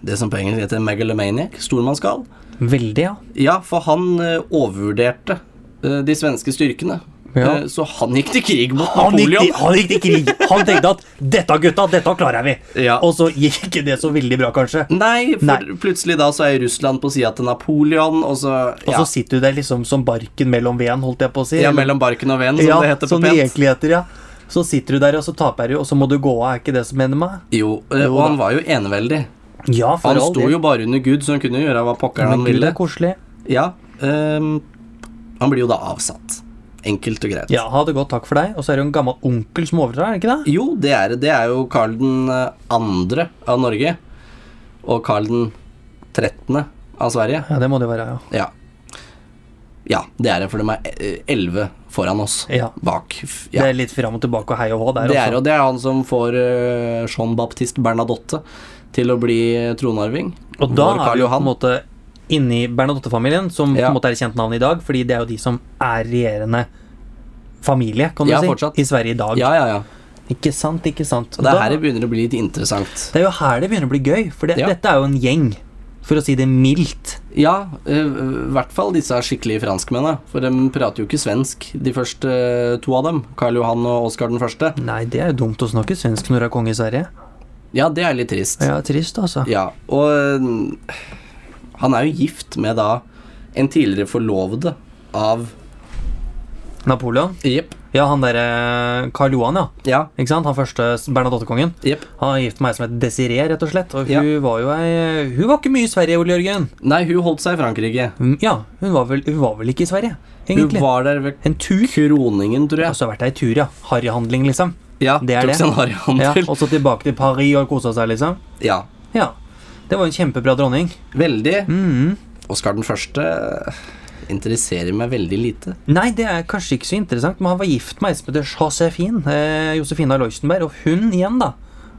[SPEAKER 1] det som på engelsk heter megalomaniac, stormannsgal.
[SPEAKER 2] Veldig, ja.
[SPEAKER 1] Ja, for han eh, overvurderte eh, de svenske styrkene.
[SPEAKER 2] Ja.
[SPEAKER 1] Eh, så han gikk til krig mot
[SPEAKER 2] Han gikk,
[SPEAKER 1] Napoleon.
[SPEAKER 2] til, han gikk til krig. Han tenkte at 'dette, gutta, dette klarer vi'.
[SPEAKER 1] Ja.
[SPEAKER 2] Og så gikk ikke det så veldig bra, kanskje.
[SPEAKER 1] Nei, for
[SPEAKER 2] Nei.
[SPEAKER 1] plutselig da så er Russland på sida til Napoleon, og så,
[SPEAKER 2] Og
[SPEAKER 1] ja,
[SPEAKER 2] så sitter du der liksom som barken mellom veden, holdt jeg på å si.
[SPEAKER 1] ja,
[SPEAKER 2] Eller-
[SPEAKER 1] mellom barken og veden, som
[SPEAKER 2] ja,
[SPEAKER 1] det heter på
[SPEAKER 2] som det
[SPEAKER 1] pent.
[SPEAKER 2] egentlig heter, ja. Så sitter du der, og så taper du, og så må du gå av. Er ikke det som mener meg?
[SPEAKER 1] Jo, eh, og han var jo eneveldig.
[SPEAKER 2] Ja, for
[SPEAKER 1] Han
[SPEAKER 2] all
[SPEAKER 1] sto
[SPEAKER 2] del.
[SPEAKER 1] jo bare under Gud, så han kunne jo gjøre hva pokker
[SPEAKER 2] Men
[SPEAKER 1] han
[SPEAKER 2] Gud
[SPEAKER 1] ville.
[SPEAKER 2] er koselig.
[SPEAKER 1] Ja, ehm, han blir jo da avsatt. Enkelt og greit.
[SPEAKER 2] Ja, ha det godt, takk for deg. Og så er det jo en gammel onkel som overtar, er det ikke det?
[SPEAKER 1] Jo, det er det. Det er jo Karl den eh, andre av Norge, og Karl den trettende av Sverige.
[SPEAKER 2] Ja, det må det jo være, ja.
[SPEAKER 1] Ja. Ja, det er det, for de er eh, elleve foran oss.
[SPEAKER 2] Ja.
[SPEAKER 1] Bak. f-
[SPEAKER 2] Det er litt fram og tilbake og hei og hå der
[SPEAKER 1] Det er,
[SPEAKER 2] også.
[SPEAKER 1] og det er han som får eh, Jean-Baptiste Bernadotte til å bli eh, tronarving.
[SPEAKER 2] Og da
[SPEAKER 1] Vår
[SPEAKER 2] er
[SPEAKER 1] Karl
[SPEAKER 2] vi jo på en
[SPEAKER 1] Johan.
[SPEAKER 2] måte inni Bernadotte-familien, som på
[SPEAKER 1] Ja.
[SPEAKER 2] en måte er et kjent navn i dag, fordi det er jo de som er regjerende familie, kan du
[SPEAKER 1] Ja,
[SPEAKER 2] si,
[SPEAKER 1] fortsatt.
[SPEAKER 2] i Sverige i dag.
[SPEAKER 1] Ja, ja, ja.
[SPEAKER 2] Ikke sant, ikke sant.
[SPEAKER 1] Og det
[SPEAKER 2] Da-
[SPEAKER 1] er her det begynner å bli litt interessant.
[SPEAKER 2] det er jo her det begynner å bli gøy, for det,
[SPEAKER 1] Ja.
[SPEAKER 2] dette er jo en gjeng, for å si det mildt.
[SPEAKER 1] Ja, eh, i hvert fall disse skikkelige franskmennene. For de prater jo ikke svensk, de første eh, to av dem. Karl Johan og Oskar den første.
[SPEAKER 2] Nei, det er jo dumt å snakke svensk når du er konge i Sverige.
[SPEAKER 1] Ja, det er litt trist.
[SPEAKER 2] Ja, trist, altså.
[SPEAKER 1] Ja, og eh, han er jo gift med da en tidligere forlovede av
[SPEAKER 2] Napoleon.
[SPEAKER 1] Jepp.
[SPEAKER 2] Ja, han derre eh, Karl Johan, ja.
[SPEAKER 1] Ja,
[SPEAKER 2] Ikke sant? Han første Bernadotte-kongen.
[SPEAKER 1] jepp.
[SPEAKER 2] Han er gift med ei som het Desiree, rett og slett. Og
[SPEAKER 1] Ja.
[SPEAKER 2] hun var jo ei Hun var ikke mye i Sverige, Ole Jørgen.
[SPEAKER 1] Nei, hun holdt seg i Frankrike.
[SPEAKER 2] Mm, Ja, hun var vel, hun var vel ikke i Sverige,
[SPEAKER 1] Hun
[SPEAKER 2] egentlig.
[SPEAKER 1] var der ved
[SPEAKER 2] En tur.
[SPEAKER 1] kroningen, tror jeg.
[SPEAKER 2] Og så har vært ei tur, ja. Harryhandling, liksom.
[SPEAKER 1] Ja,
[SPEAKER 2] Det er
[SPEAKER 1] tok
[SPEAKER 2] det.
[SPEAKER 1] seg en harryhandel.
[SPEAKER 2] Ja, og så tilbake til Paris og kosa seg, liksom.
[SPEAKER 1] Ja.
[SPEAKER 2] Ja. Det var en kjempebra dronning.
[SPEAKER 1] Veldig.
[SPEAKER 2] Mhm.
[SPEAKER 1] Oskar den første interesserer meg veldig lite.
[SPEAKER 2] Nei, det er kanskje ikke så interessant, men han var gift med ei som heter Josefin, eh, Josefina Loisenberg, og hun igjen, da,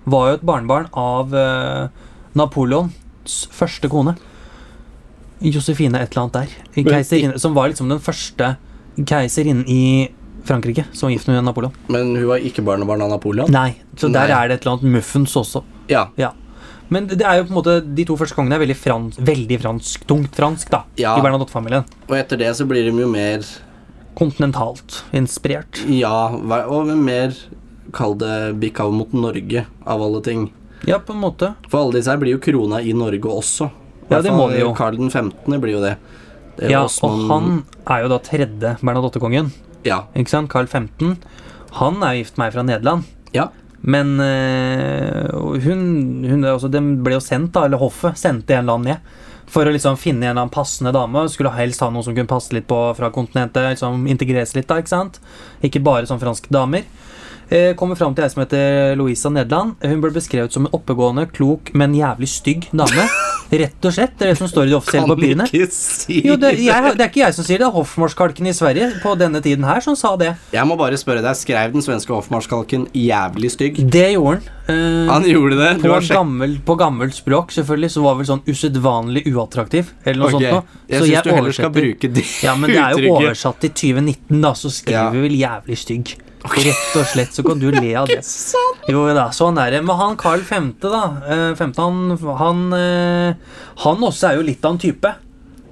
[SPEAKER 2] var jo et barnebarn av eh, Napoleons første kone. Josefine et eller annet der. En Keiserinne, som var liksom den første keiserinnen i Frankrike som var gift med Napoleon.
[SPEAKER 1] Men hun var ikke barnebarn av Napoleon?
[SPEAKER 2] Nei, så der
[SPEAKER 1] Nei.
[SPEAKER 2] er det et eller annet muffens også.
[SPEAKER 1] Ja,
[SPEAKER 2] Ja. Men det er jo på en måte de to første kongene er veldig fransk, veldig fransk tungt fransk, da,
[SPEAKER 1] Ja.
[SPEAKER 2] i Bernadotte-familien.
[SPEAKER 1] og etter det så blir de jo mer
[SPEAKER 2] Kontinentalt inspirert.
[SPEAKER 1] Ja, hva- og mer Kall det bikk av mot Norge, av alle ting.
[SPEAKER 2] Ja, på en måte.
[SPEAKER 1] For alle disse her blir jo krona i Norge også.
[SPEAKER 2] Ja, det må de jo.
[SPEAKER 1] Karl den 15. blir jo det. det er
[SPEAKER 2] Ja, og
[SPEAKER 1] Osman-
[SPEAKER 2] han er jo da tredje Bernadotte-kongen.
[SPEAKER 1] Ja.
[SPEAKER 2] Ikke sant? Carl 15. Han er jo gift med ei fra Nederland.
[SPEAKER 1] ja.
[SPEAKER 2] Men eh, og hun, hun er også, Den ble jo sendt, da, eller hoffet sendte en eller annen ned. For å liksom finne en eller annen passende dame. Skulle helst ha noen som kunne passe litt på fra kontinentet. liksom Integreres litt, da. Ikke sant? Ikke bare som franske damer. Eh, kommer fram til ei som heter Louisa Nederland. Hun ble beskrevet som en oppegående, klok, men jævlig stygg dame. Rett og slett. Det er det som står i de offisielle papirene.
[SPEAKER 1] ikke si
[SPEAKER 2] Jo, det, jeg, det er ikke jeg som sier det, det er hoffmorskalken i Sverige på denne tiden her som sa det.
[SPEAKER 1] Jeg må bare spørre deg, skrev den svenske hoffmarskalken jævlig stygg?
[SPEAKER 2] Det gjorde han. Eh,
[SPEAKER 1] Han gjorde det. Du
[SPEAKER 2] på,
[SPEAKER 1] har sjekket
[SPEAKER 2] gammel, på gammelt språk, selvfølgelig, så var vel sånn usedvanlig uattraktiv, eller
[SPEAKER 1] Ok,
[SPEAKER 2] noe sånt noe.
[SPEAKER 1] Jeg
[SPEAKER 2] Så
[SPEAKER 1] syns du heller skal
[SPEAKER 2] oversetter.
[SPEAKER 1] bruke det
[SPEAKER 2] Ja, men det er jo
[SPEAKER 1] uttrykket.
[SPEAKER 2] oversatt til 2019, da, så skriver
[SPEAKER 1] Ja.
[SPEAKER 2] vi vel jævlig stygg. Rett og slett, så kan du le av det. Jo da, sånn er det. Men han Carl 5., da. eh, Femte, han, han, eh, han også er jo litt av en type.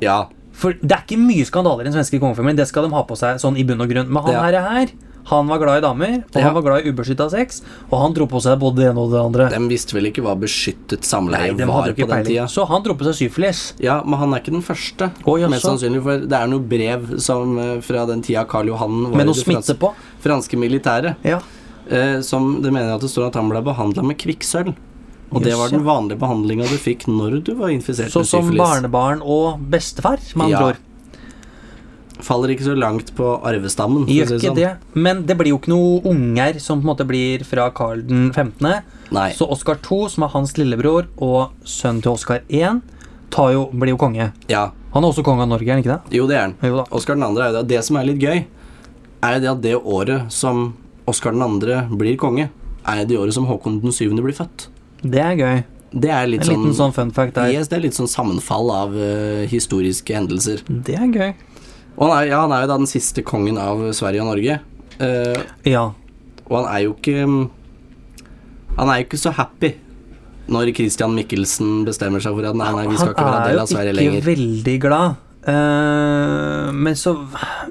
[SPEAKER 1] Ja.
[SPEAKER 2] For det er ikke mye skandaler i den svenske kongefamilien. Det skal de ha på seg sånn i bunn og grunn. Men han
[SPEAKER 1] Ja.
[SPEAKER 2] her er her. Han var glad i damer, og
[SPEAKER 1] Ja.
[SPEAKER 2] han var glad i ubeskytta sex. Og han dro på seg både det ene og det andre.
[SPEAKER 1] De visste vel ikke hva beskyttet
[SPEAKER 2] Nei,
[SPEAKER 1] samleie
[SPEAKER 2] de
[SPEAKER 1] var
[SPEAKER 2] hadde
[SPEAKER 1] på
[SPEAKER 2] jo ikke
[SPEAKER 1] den tida.
[SPEAKER 2] peiling. Så han dro på seg syfilis.
[SPEAKER 1] Ja, men han er ikke den første.
[SPEAKER 2] Å, jaså.
[SPEAKER 1] Mest sannsynlig, for det er noe brev som, eh, fra den tida Karl Johan var
[SPEAKER 2] Med
[SPEAKER 1] i
[SPEAKER 2] noe
[SPEAKER 1] det
[SPEAKER 2] smitte
[SPEAKER 1] franske-
[SPEAKER 2] på.
[SPEAKER 1] franske militæret,
[SPEAKER 2] Ja.
[SPEAKER 1] eh, som det mener at det står at han ble behandla med kvikksølv. Og det
[SPEAKER 2] Jøss,
[SPEAKER 1] var
[SPEAKER 2] ja.
[SPEAKER 1] den vanlige behandlinga du fikk når du var infisert
[SPEAKER 2] Så
[SPEAKER 1] med
[SPEAKER 2] som
[SPEAKER 1] syfilis.
[SPEAKER 2] barnebarn og bestefar, med andre
[SPEAKER 1] Ja,
[SPEAKER 2] ord.
[SPEAKER 1] Faller ikke så langt på arvestammen. for å
[SPEAKER 2] Gjør
[SPEAKER 1] si
[SPEAKER 2] ikke
[SPEAKER 1] sånn.
[SPEAKER 2] det. Men det blir jo ikke noe unger som på en måte blir fra Carl den 15.
[SPEAKER 1] Nei.
[SPEAKER 2] Så Oskar 2, som er hans lillebror, og sønnen til Oskar 1, tar jo, blir jo konge.
[SPEAKER 1] Ja.
[SPEAKER 2] Han er også konge av Norge, er han ikke det?
[SPEAKER 1] Jo, det er han.
[SPEAKER 2] Jo da.
[SPEAKER 1] Oscar 2. er jo det. Det som er litt gøy, er det at det året som Oscar 2. blir konge, er det året som Håkon 7. blir født.
[SPEAKER 2] Det er gøy.
[SPEAKER 1] Det er litt
[SPEAKER 2] En
[SPEAKER 1] sånn,
[SPEAKER 2] liten sånn fun fact der.
[SPEAKER 1] yes, det er litt sånn sammenfall av eh, historiske hendelser.
[SPEAKER 2] Det er gøy.
[SPEAKER 1] Og han er, ja, han er jo da den siste kongen av Sverige og Norge. Eh,
[SPEAKER 2] Ja.
[SPEAKER 1] og han er jo ikke Han er jo ikke så happy når Christian Michelsen bestemmer seg for at nei, nei, vi skal ikke være en del av Sverige
[SPEAKER 2] Han er jo
[SPEAKER 1] lenger.
[SPEAKER 2] ikke veldig glad. Eh, men så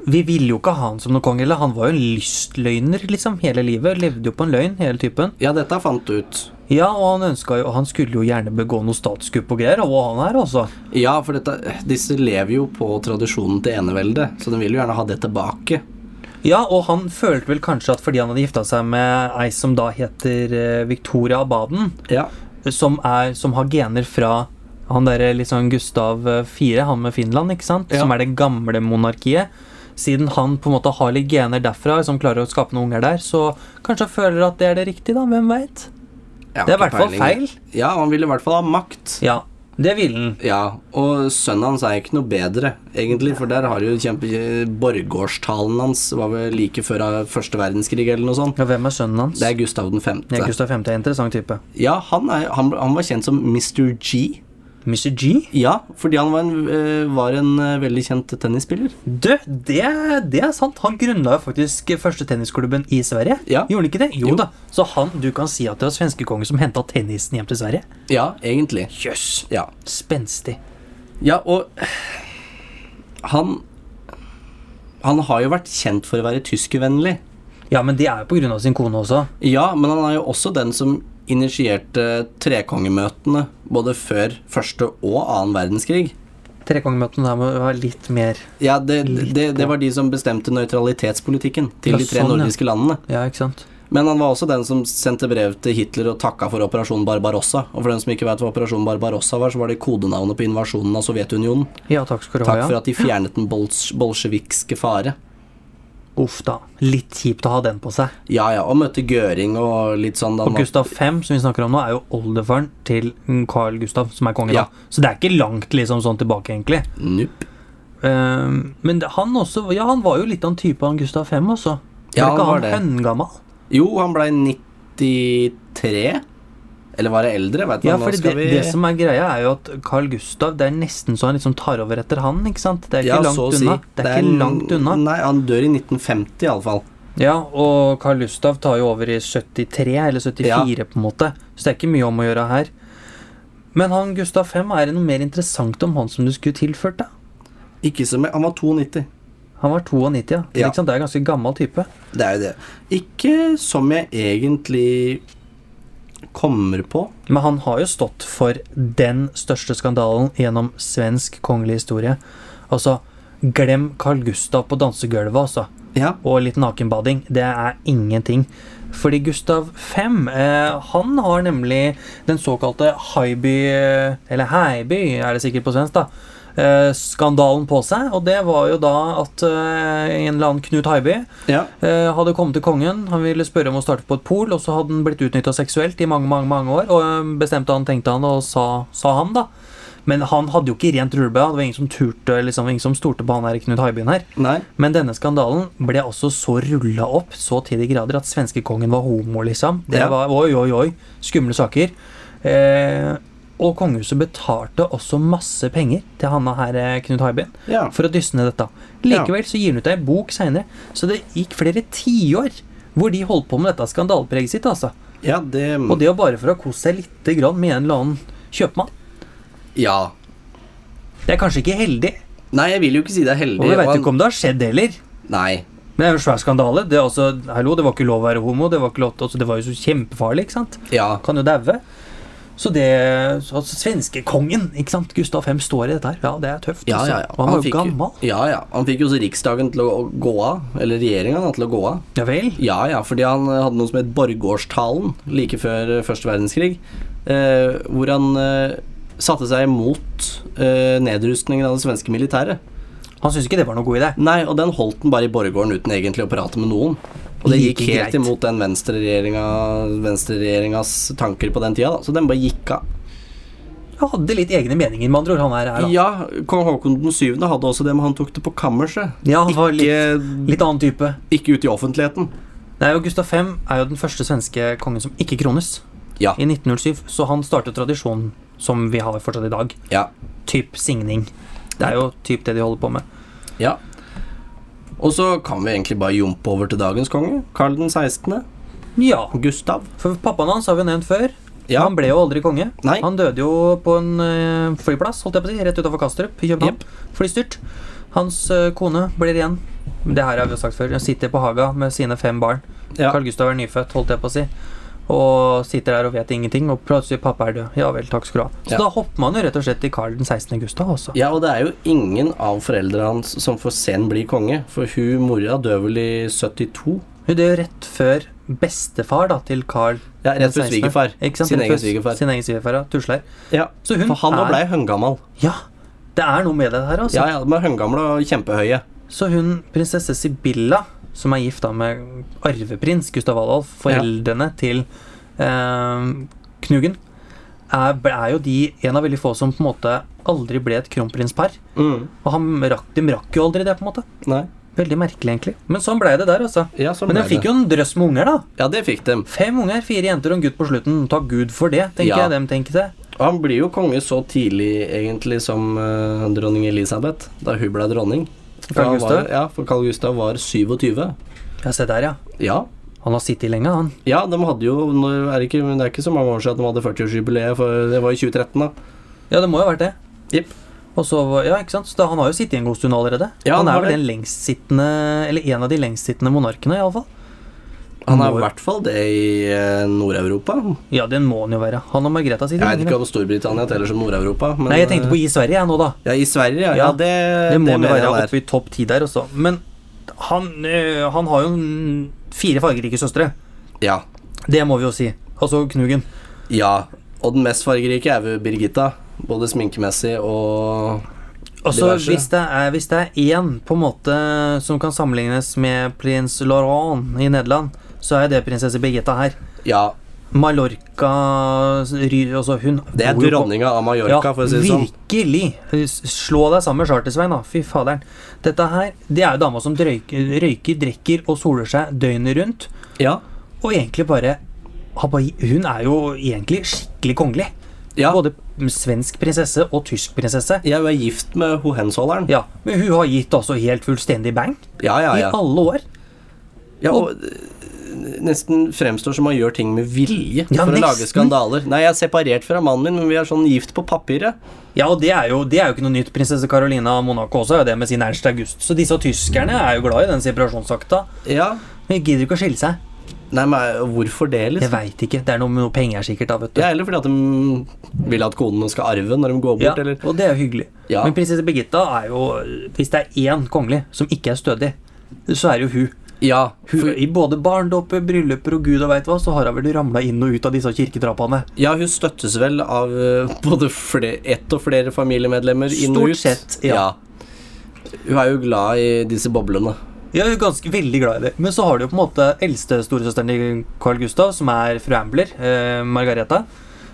[SPEAKER 2] Vi ville jo ikke ha han som noen konge. Eller? Han var jo en lystløgner liksom, hele livet. Levde jo på en løgn, hele typen.
[SPEAKER 1] Ja, dette fant du ut.
[SPEAKER 2] Ja, og han ønsket jo Han skulle jo gjerne begå noe statskupp og greier, og han her, altså.
[SPEAKER 1] Ja, for dette, disse lever jo på tradisjonen til eneveldet, så de vil jo gjerne ha det tilbake.
[SPEAKER 2] Ja, og han følte vel kanskje at fordi han hadde gifta seg med ei som da heter eh, Victoria av Baden,
[SPEAKER 1] Ja.
[SPEAKER 2] som, er, som har gener fra han derre liksom Gustav eh, 4, han med Finland, ikke sant?
[SPEAKER 1] Ja.
[SPEAKER 2] Som er det gamle monarkiet. Siden han på en måte har litt gener derfra, som klarer å skape noen unger der, så kanskje han føler at det er det riktige, da. Hvem veit?
[SPEAKER 1] Jeg har
[SPEAKER 2] Det er i
[SPEAKER 1] ikke
[SPEAKER 2] hvert fall
[SPEAKER 1] peiling.
[SPEAKER 2] feil.
[SPEAKER 1] Ja, han ville i hvert fall ha makt.
[SPEAKER 2] Ja, det ville han.
[SPEAKER 1] Ja, og sønnen hans er ikke noe bedre, egentlig, for der har jo kjempe... Borggårdstalen hans var vel like før av første verdenskrig eller noe sånt.
[SPEAKER 2] Ja, hvem er sønnen hans?
[SPEAKER 1] Det er Gustav den
[SPEAKER 2] ja,
[SPEAKER 1] femte.
[SPEAKER 2] Gustav 5. er en interessant type.
[SPEAKER 1] Ja, han, er, han, han var kjent som Mr. G.
[SPEAKER 2] Mr. G?
[SPEAKER 1] Ja, fordi han var en, eh, var en eh, veldig kjent tennisspiller.
[SPEAKER 2] Du, det, det er sant. Han grunnla jo faktisk første tennisklubben i Sverige.
[SPEAKER 1] Ja.
[SPEAKER 2] Gjorde han ikke det? Jo,
[SPEAKER 1] Jo.
[SPEAKER 2] da. Så han, du kan si at det var svenskekongen som henta tennisen hjem til Sverige?
[SPEAKER 1] Ja, egentlig.
[SPEAKER 2] Jøss. Yes.
[SPEAKER 1] Ja.
[SPEAKER 2] Spenstig.
[SPEAKER 1] Ja, og han Han har jo vært kjent for å være tyskervennlig.
[SPEAKER 2] Ja, men det er jo på grunn av sin kone også.
[SPEAKER 1] Ja, men han er jo også den som initierte trekongemøtene både før første og annen verdenskrig.
[SPEAKER 2] Trekongemøtene der må være litt mer
[SPEAKER 1] Ja, det, det, det var de som bestemte nøytralitetspolitikken til
[SPEAKER 2] Ja,
[SPEAKER 1] de tre
[SPEAKER 2] sånn, ja.
[SPEAKER 1] nordiske landene.
[SPEAKER 2] Ja, ikke sant?
[SPEAKER 1] Men han var også den som sendte brev til Hitler og takka for Operasjon Barbarossa. Og for den som ikke vet hva Operasjon Barbarossa var, så var det kodenavnet på invasjonen av Sovjetunionen.
[SPEAKER 2] Ja, takk skal du ha.
[SPEAKER 1] Takk for
[SPEAKER 2] Ja.
[SPEAKER 1] at de fjernet den bols bolsjevikske fare.
[SPEAKER 2] Uff da. Litt kjipt å ha den på seg.
[SPEAKER 1] Ja, ja, og møtte Gøring og litt sånn da
[SPEAKER 2] Og Gustav 5, som vi snakker om nå, er jo oldefaren til mm, Carl Gustav, som er konge
[SPEAKER 1] Ja.
[SPEAKER 2] da. Så det er ikke langt liksom sånn tilbake, egentlig.
[SPEAKER 1] Nupp.
[SPEAKER 2] Eh, Ehm, men det, han også Ja, han var jo litt av en type, han Gustav 5 også.
[SPEAKER 1] Ja,
[SPEAKER 2] ikke
[SPEAKER 1] han var
[SPEAKER 2] han
[SPEAKER 1] det.
[SPEAKER 2] høngammal?
[SPEAKER 1] Jo, han blei 93. Eller var det eldre? Vet du,
[SPEAKER 2] Ja,
[SPEAKER 1] hva, nå
[SPEAKER 2] fordi det,
[SPEAKER 1] skal vi
[SPEAKER 2] det som er greia, er jo at Carl Gustav Det er nesten så han liksom tar over etter han, ikke sant? Det er ikke
[SPEAKER 1] Ja,
[SPEAKER 2] langt
[SPEAKER 1] så å si.
[SPEAKER 2] unna. Det er ikke langt unna.
[SPEAKER 1] Nei, han dør i 1950 iallfall.
[SPEAKER 2] Ja, og Carl Gustav tar jo over i 73, eller 74 på en måte. Så det er ikke mye om å gjøre her. Men han Gustav 5, er det noe mer interessant om han som du skulle tilført, da?
[SPEAKER 1] Ikke som Han var 92.
[SPEAKER 2] Han var 92, ja.
[SPEAKER 1] Ja.
[SPEAKER 2] Ikke sant? Det er en ganske gammel type.
[SPEAKER 1] Det er jo det. Ikke som jeg egentlig kommer på.
[SPEAKER 2] Men han har jo stått for den største skandalen gjennom svensk kongelig historie. Altså, glem Carl Gustav på dansegulvet, altså.
[SPEAKER 1] Ja.
[SPEAKER 2] og litt nakenbading, det er ingenting. Fordi Gustav 5, eh, han har nemlig den såkalte Haiby, eh, eller Heiby er det sikkert på svensk, da, eh, skandalen på seg. Og det var jo da at eh, en eller annen Knut Haiby
[SPEAKER 1] ja.
[SPEAKER 2] eh, hadde kommet til kongen. Han ville spørre om å starte på et pol, og så hadde han blitt utnytta seksuelt i mange mange, mange år. Og eh, bestemte han, tenkte han, og sa, sa han, da. Men han hadde jo ikke rent rulleblad. Det var ingen som turte, liksom, ingen som stolte på han her Knut Haibyen her.
[SPEAKER 1] Nei.
[SPEAKER 2] Men denne skandalen ble også så rulla opp så til de grader at svenskekongen var homo, liksom. Det
[SPEAKER 1] Ja.
[SPEAKER 2] var oi, oi, oi. Skumle saker. Eh, og kongehuset betalte også masse penger til Hanna her, eh, Knut Haibyen,
[SPEAKER 1] Ja.
[SPEAKER 2] for å dysse ned dette. Likevel så gir han ut ei bok seinere, så det gikk flere tiår hvor de holdt på med dette skandalepreget sitt, altså.
[SPEAKER 1] ja, det
[SPEAKER 2] Og det var bare for å kose seg lite grann med en eller annen kjøpmann.
[SPEAKER 1] Ja.
[SPEAKER 2] Det er kanskje ikke heldig,
[SPEAKER 1] Nei, jeg vil jo ikke si det er heldig.
[SPEAKER 2] og vi veit
[SPEAKER 1] og
[SPEAKER 2] jo ikke om det har skjedd heller.
[SPEAKER 1] han- Nei.
[SPEAKER 2] Men det er jo en svær skandale. Det, er altså, hallo, det var ikke lov å være homo. Det var, ikke lov, altså, det var jo så kjempefarlig. ikke sant?
[SPEAKER 1] Ja.
[SPEAKER 2] Kan jo daue. Så det så, altså, Svenskekongen, ikke sant? Gustav 5 står i dette her. Ja, det er tøft.
[SPEAKER 1] Ja,
[SPEAKER 2] altså.
[SPEAKER 1] ja, ja.
[SPEAKER 2] Og han, var jo
[SPEAKER 1] fikk jo,
[SPEAKER 2] gammel.
[SPEAKER 1] ja, ja. han fikk jo også Riksdagen til å gå av, eller regjeringa da, til å gå av.
[SPEAKER 2] Ja vel.
[SPEAKER 1] Ja, ja, fordi han eh, hadde noe som het Borggårdstalen like før eh, første verdenskrig. Eh, hvor han eh, satte seg imot eh, nedrustningen av det svenske militæret.
[SPEAKER 2] Han syntes ikke det var noe god idé.
[SPEAKER 1] Nei, og den holdt han bare i borggården uten egentlig å prate med noen. Og det
[SPEAKER 2] Like
[SPEAKER 1] gikk helt
[SPEAKER 2] greit.
[SPEAKER 1] imot den venstreregjeringa- venstreregjeringas tanker på den tida, da. Så den bare gikk av.
[SPEAKER 2] Han hadde litt egne meninger, med andre ord. Han her, her da.
[SPEAKER 1] Ja, kong Haakon den syvende hadde også det, men han tok det på kammerset.
[SPEAKER 2] Ja, han var litt,
[SPEAKER 1] Ikke,
[SPEAKER 2] litt annen type.
[SPEAKER 1] ikke ute i offentligheten.
[SPEAKER 2] Nei, og Gustav 5 er jo den første svenske kongen som ikke krones.
[SPEAKER 1] Ja.
[SPEAKER 2] I 1907. Så han startet tradisjonen som vi har fortsatt i dag.
[SPEAKER 1] Ja.
[SPEAKER 2] Typ signing. Det er jo typ det de holder på med.
[SPEAKER 1] Ja. Og så kan vi egentlig bare jumpe over til dagens konge, Karl den 16.
[SPEAKER 2] Ja.
[SPEAKER 1] Gustav.
[SPEAKER 2] For pappaen hans har vi nevnt før.
[SPEAKER 1] Ja.
[SPEAKER 2] Han ble jo aldri konge.
[SPEAKER 1] Nei.
[SPEAKER 2] Han døde jo på en eh, flyplass, holdt jeg på å si, rett utenfor Kastrup i København. Flystyrt. Hans eh, kone blir igjen. Det her har vi jo sagt før. Hun sitter på Haga med sine fem barn.
[SPEAKER 1] Ja.
[SPEAKER 2] Carl Gustav er nyfødt, holdt jeg på å si. Og sitter der og vet ingenting, og plutselig pappa er død. Ja vel, takk skal du ha. Så
[SPEAKER 1] Ja.
[SPEAKER 2] da hopper man jo rett og slett til Carl den 16. Gustav også.
[SPEAKER 1] Ja, og det er jo ingen av foreldrene hans som for sen blir konge, for hun mora dør vel i 72?
[SPEAKER 2] Hun dør rett før bestefar da, til Carl
[SPEAKER 1] Ja, rett før svigerfar.
[SPEAKER 2] Ikke sant?
[SPEAKER 1] Sin
[SPEAKER 2] Rett
[SPEAKER 1] egen
[SPEAKER 2] før
[SPEAKER 1] svigerfar.
[SPEAKER 2] Sin egen svigerfar, ja. Tusler.
[SPEAKER 1] Ja.
[SPEAKER 2] Så hun
[SPEAKER 1] For han òg blei høngammal.
[SPEAKER 2] Ja, det er noe med det her, altså.
[SPEAKER 1] Ja, ja, de er høngamle og kjempehøye.
[SPEAKER 2] Så hun, prinsesse Sibylla, som er gift da med arveprins Gustav Adolf, foreldrene til eh, Knugen, er, er jo de en av veldig få som på en måte aldri ble et kronprinspar.
[SPEAKER 1] Mm.
[SPEAKER 2] Og han rakk, de rakk jo aldri det, på en måte.
[SPEAKER 1] Nei.
[SPEAKER 2] Veldig merkelig, egentlig. Men sånn blei det der, altså.
[SPEAKER 1] Ja, sånn
[SPEAKER 2] Men
[SPEAKER 1] ble
[SPEAKER 2] hun fikk
[SPEAKER 1] det.
[SPEAKER 2] jo en drøss med unger, da.
[SPEAKER 1] Ja, det fikk de.
[SPEAKER 2] Fem unger, fire jenter og en gutt på slutten. Takk Gud for det, tenker
[SPEAKER 1] Ja.
[SPEAKER 2] jeg. Dem tenker det.
[SPEAKER 1] Og han blir jo konge så tidlig, egentlig, som eh, dronning Elisabeth, da hun ble dronning. For
[SPEAKER 2] Carl
[SPEAKER 1] han var-
[SPEAKER 2] Gustav?
[SPEAKER 1] Ja, for Carl Gustav var 27.
[SPEAKER 2] Ja, se der, ja.
[SPEAKER 1] Ja,
[SPEAKER 2] Han har sittet lenge, han.
[SPEAKER 1] Ja, de hadde jo når, er det, ikke, men det er ikke så mange år siden at de hadde 40-årsjubileet, for det var i 2013, da.
[SPEAKER 2] Ja, det må jo ha vært det.
[SPEAKER 1] Jepp.
[SPEAKER 2] Og så, var- ja, ikke sant? Så da, han har jo sittet i en god stund allerede.
[SPEAKER 1] Ja, han
[SPEAKER 2] han er
[SPEAKER 1] har
[SPEAKER 2] vel
[SPEAKER 1] det.
[SPEAKER 2] den lengstsittende, eller en av de lengstsittende monarkene, iallfall.
[SPEAKER 1] Han er
[SPEAKER 2] Når-
[SPEAKER 1] i hvert fall det i eh, Nord-Europa.
[SPEAKER 2] Ja, den må han jo være. Han og Margrethe sitter
[SPEAKER 1] Jeg vet
[SPEAKER 2] lenger.
[SPEAKER 1] ikke om Storbritannia teller som Nord-Europa, men eh,
[SPEAKER 2] Nei, jeg tenkte på i Sverige, jeg nå, da.
[SPEAKER 1] Ja, i Sverige, ja.
[SPEAKER 2] Ja,
[SPEAKER 1] ja det,
[SPEAKER 2] Det må han jo
[SPEAKER 1] mener jeg
[SPEAKER 2] være
[SPEAKER 1] han er.
[SPEAKER 2] oppe i topp ti der også. Men han, øh, han har jo mm, fire fargerike søstre.
[SPEAKER 1] Ja.
[SPEAKER 2] Det må vi jo si. Altså Knugen.
[SPEAKER 1] ja. Og den mest fargerike er vel Birgitta. Både sminkemessig og
[SPEAKER 2] Altså,
[SPEAKER 1] Diverse.
[SPEAKER 2] hvis det, er, hvis det er én på en måte som kan sammenlignes med prins Laurent i Nederland, så er det prinsesse Birgitta her.
[SPEAKER 1] Ja.
[SPEAKER 2] Mallorca ry- altså hun
[SPEAKER 1] Det er
[SPEAKER 2] bor jo på-
[SPEAKER 1] dronninga av Mallorca, for å si det sånn.
[SPEAKER 2] Virkelig! S- Slå deg sammen med Charter-Svein, da. Fy faderen. Dette her, det er jo dama som drøyker, røyker, drikker og soler seg døgnet rundt.
[SPEAKER 1] Ja.
[SPEAKER 2] Og egentlig bare har bare- Hun er jo egentlig skikkelig kongelig.
[SPEAKER 1] ja.
[SPEAKER 2] Både svensk prinsesse og tysk prinsesse.
[SPEAKER 1] Jeg er gift med hohensholderen.
[SPEAKER 2] Ja, Men hun har gitt altså helt fullstendig bang
[SPEAKER 1] Ja, ja, ja.
[SPEAKER 2] i alle år.
[SPEAKER 1] ja og øh, nesten fremstår som man gjør ting med vilje
[SPEAKER 2] Ja,
[SPEAKER 1] for å lage
[SPEAKER 2] nesten.
[SPEAKER 1] skandaler. Nei, jeg er separert fra mannen min, men vi er sånn gift på papiret.
[SPEAKER 2] Ja, og det er, jo, det er jo ikke noe nytt. Prinsesse Carolina av Monaco også er jo det med sin Ernst August. Så disse tyskerne er jo glad i den separasjonsakta.
[SPEAKER 1] Ja.
[SPEAKER 2] Men de gidder ikke å skille seg.
[SPEAKER 1] Nei, men hvorfor det, liksom?
[SPEAKER 2] Jeg veit ikke. Det er noe med noe penger sikkert, da, vet du.
[SPEAKER 1] Ja, eller fordi at de vil at konene skal arve når de går bort,
[SPEAKER 2] Ja,
[SPEAKER 1] eller
[SPEAKER 2] og det er jo hyggelig.
[SPEAKER 1] Ja.
[SPEAKER 2] Men prinsesse Birgitta er jo Hvis det er én kongelig som ikke er stødig, så er det jo hun.
[SPEAKER 1] Ja.
[SPEAKER 2] hun
[SPEAKER 1] For,
[SPEAKER 2] I både barndåper, brylluper og gud og veit hva, så har hun vel ramla inn og ut av disse kirketrappene.
[SPEAKER 1] ja, hun støttes vel av øh, både flere, ett og flere familiemedlemmer inn og
[SPEAKER 2] Stort
[SPEAKER 1] ut.
[SPEAKER 2] sett, ja.
[SPEAKER 1] Hun er jo glad i disse boblene.
[SPEAKER 2] Ja, hun er ganske veldig glad i det. Men så har du jo på en måte eldste storesøsteren til Carl Gustav, som er fru Ambler, eh, Margareta.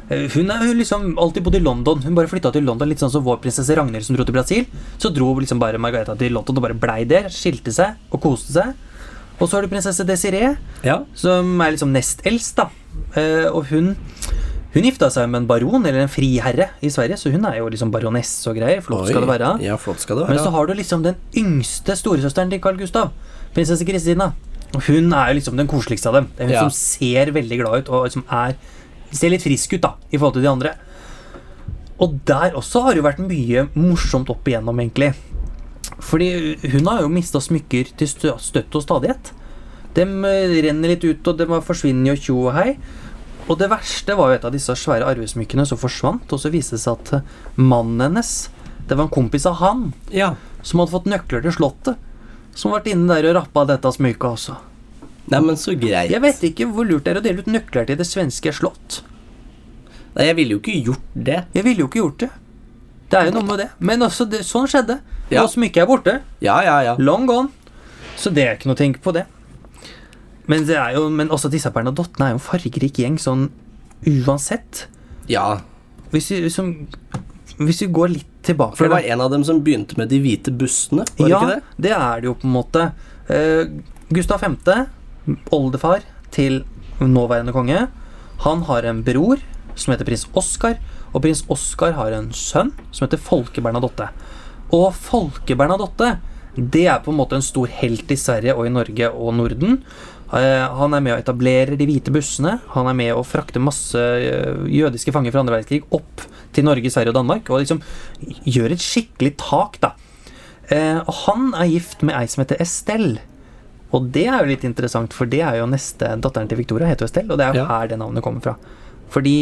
[SPEAKER 2] Eh, Hun er jo liksom alltid bodd i London. Hun bare flytta til London, litt sånn som vår prinsesse Ragnhild som dro til Brasil. Så dro liksom bare Margareta til London og bare blei der, skilte seg og koste seg. Og så har du prinsesse Desiree,
[SPEAKER 1] Ja.
[SPEAKER 2] som er liksom nest eldst, da. Eh, og hun hun gifta seg med en baron, eller en friherre, i Sverige, så hun er jo liksom baronesse og greier. Flott skal det
[SPEAKER 1] Oi.
[SPEAKER 2] være.
[SPEAKER 1] Ja, flott skal det
[SPEAKER 2] Men så
[SPEAKER 1] være.
[SPEAKER 2] har du liksom den yngste storesøsteren til Carl Gustav, prinsesse Kristina. Og Hun er jo liksom den koseligste av dem. Det er hun
[SPEAKER 1] Ja.
[SPEAKER 2] som ser veldig glad ut og som er, ser litt frisk ut da, i forhold til de andre. Og der også har det jo vært mye morsomt opp igjennom, egentlig. Fordi hun har jo mista smykker til stø- støtt og stadighet. De renner litt ut, og de bare forsvinner jo tjo og hei. Og det verste var jo et av disse svære arvesmykkene som forsvant, og så viste det seg at eh, mannen hennes, det var en kompis av han,
[SPEAKER 1] Ja.
[SPEAKER 2] som hadde fått nøkler til slottet. Som vært inne der og rappa dette smykket også.
[SPEAKER 1] Nei, men så greit.
[SPEAKER 2] Jeg vet ikke hvor lurt det er å dele ut nøkler til det svenske slott.
[SPEAKER 1] Nei, jeg ville jo ikke gjort det.
[SPEAKER 2] Jeg ville jo ikke gjort det. Det er jo noe med det. Men altså, det, sånn skjedde.
[SPEAKER 1] Ja.
[SPEAKER 2] Og smykket er borte.
[SPEAKER 1] Ja, ja, ja.
[SPEAKER 2] Long gone. Så det er ikke noe å tenke på, det. Men, det er jo, men også disse Bernadottene er jo en fargerik gjeng sånn uansett.
[SPEAKER 1] ja.
[SPEAKER 2] Hvis vi, som, hvis vi går litt tilbake
[SPEAKER 1] For det
[SPEAKER 2] da.
[SPEAKER 1] var en av dem som begynte med de hvite bussene, var det
[SPEAKER 2] ja,
[SPEAKER 1] ikke det?
[SPEAKER 2] er det jo på en måte. Eh, Gustav 5., oldefar til nåværende konge, han har en bror som heter prins Oskar, og prins Oskar har en sønn som heter Folke Bernadotte. Og Folke Bernadotte, det er på en måte en stor helt i Sverige og i Norge og Norden. Eh, Han er med å etablere de hvite bussene. Han er med å frakte masse eh, jødiske fanger fra andre verdenskrig opp til Norge, Sverige og Danmark. Og liksom gjør et skikkelig tak, da. Eh, og han er gift med ei som heter Estelle. Og det er jo litt interessant, for det er jo neste datteren til Victoria, heter jo Estelle, og det er jo
[SPEAKER 1] Ja.
[SPEAKER 2] her det navnet kommer fra. For de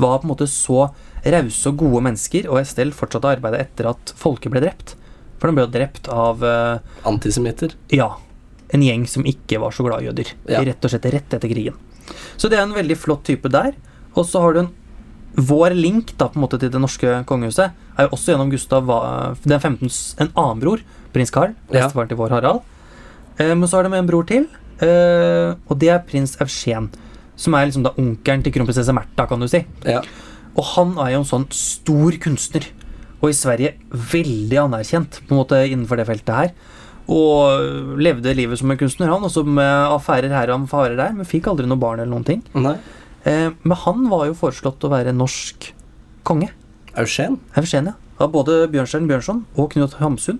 [SPEAKER 2] var på en måte så rause og gode mennesker, og Estelle fortsatte arbeidet etter at folket ble drept. For den ble jo drept av eh,
[SPEAKER 1] Antisemitter.
[SPEAKER 2] ja. En gjeng som ikke var så glad i jøder.
[SPEAKER 1] Ja.
[SPEAKER 2] Rett og slett rett etter krigen. Så det er en veldig flott type der. Og så har du en Vår link da på en måte til det norske kongehuset er jo også gjennom Gustav Va- den 15.s en annen bror, prins Carl,
[SPEAKER 1] Ja.
[SPEAKER 2] bestefaren til vår Harald. Eh, Men så har de en bror til, eh, og det er prins Eugen. Som er liksom da onkelen til kronprinsesse Märtha, kan du si.
[SPEAKER 1] Ja.
[SPEAKER 2] Og han er jo en sånn stor kunstner, og i Sverige veldig anerkjent på en måte innenfor det feltet her. Og levde livet som en kunstner, han, også med affærer her og affærer der, men fikk aldri noe barn eller noen ting.
[SPEAKER 1] Nei.
[SPEAKER 2] Eh, men han var jo foreslått å være norsk konge.
[SPEAKER 1] Eugen?
[SPEAKER 2] Eugenia. Av både Bjørnstjerne Bjørnson og Knut Hamsun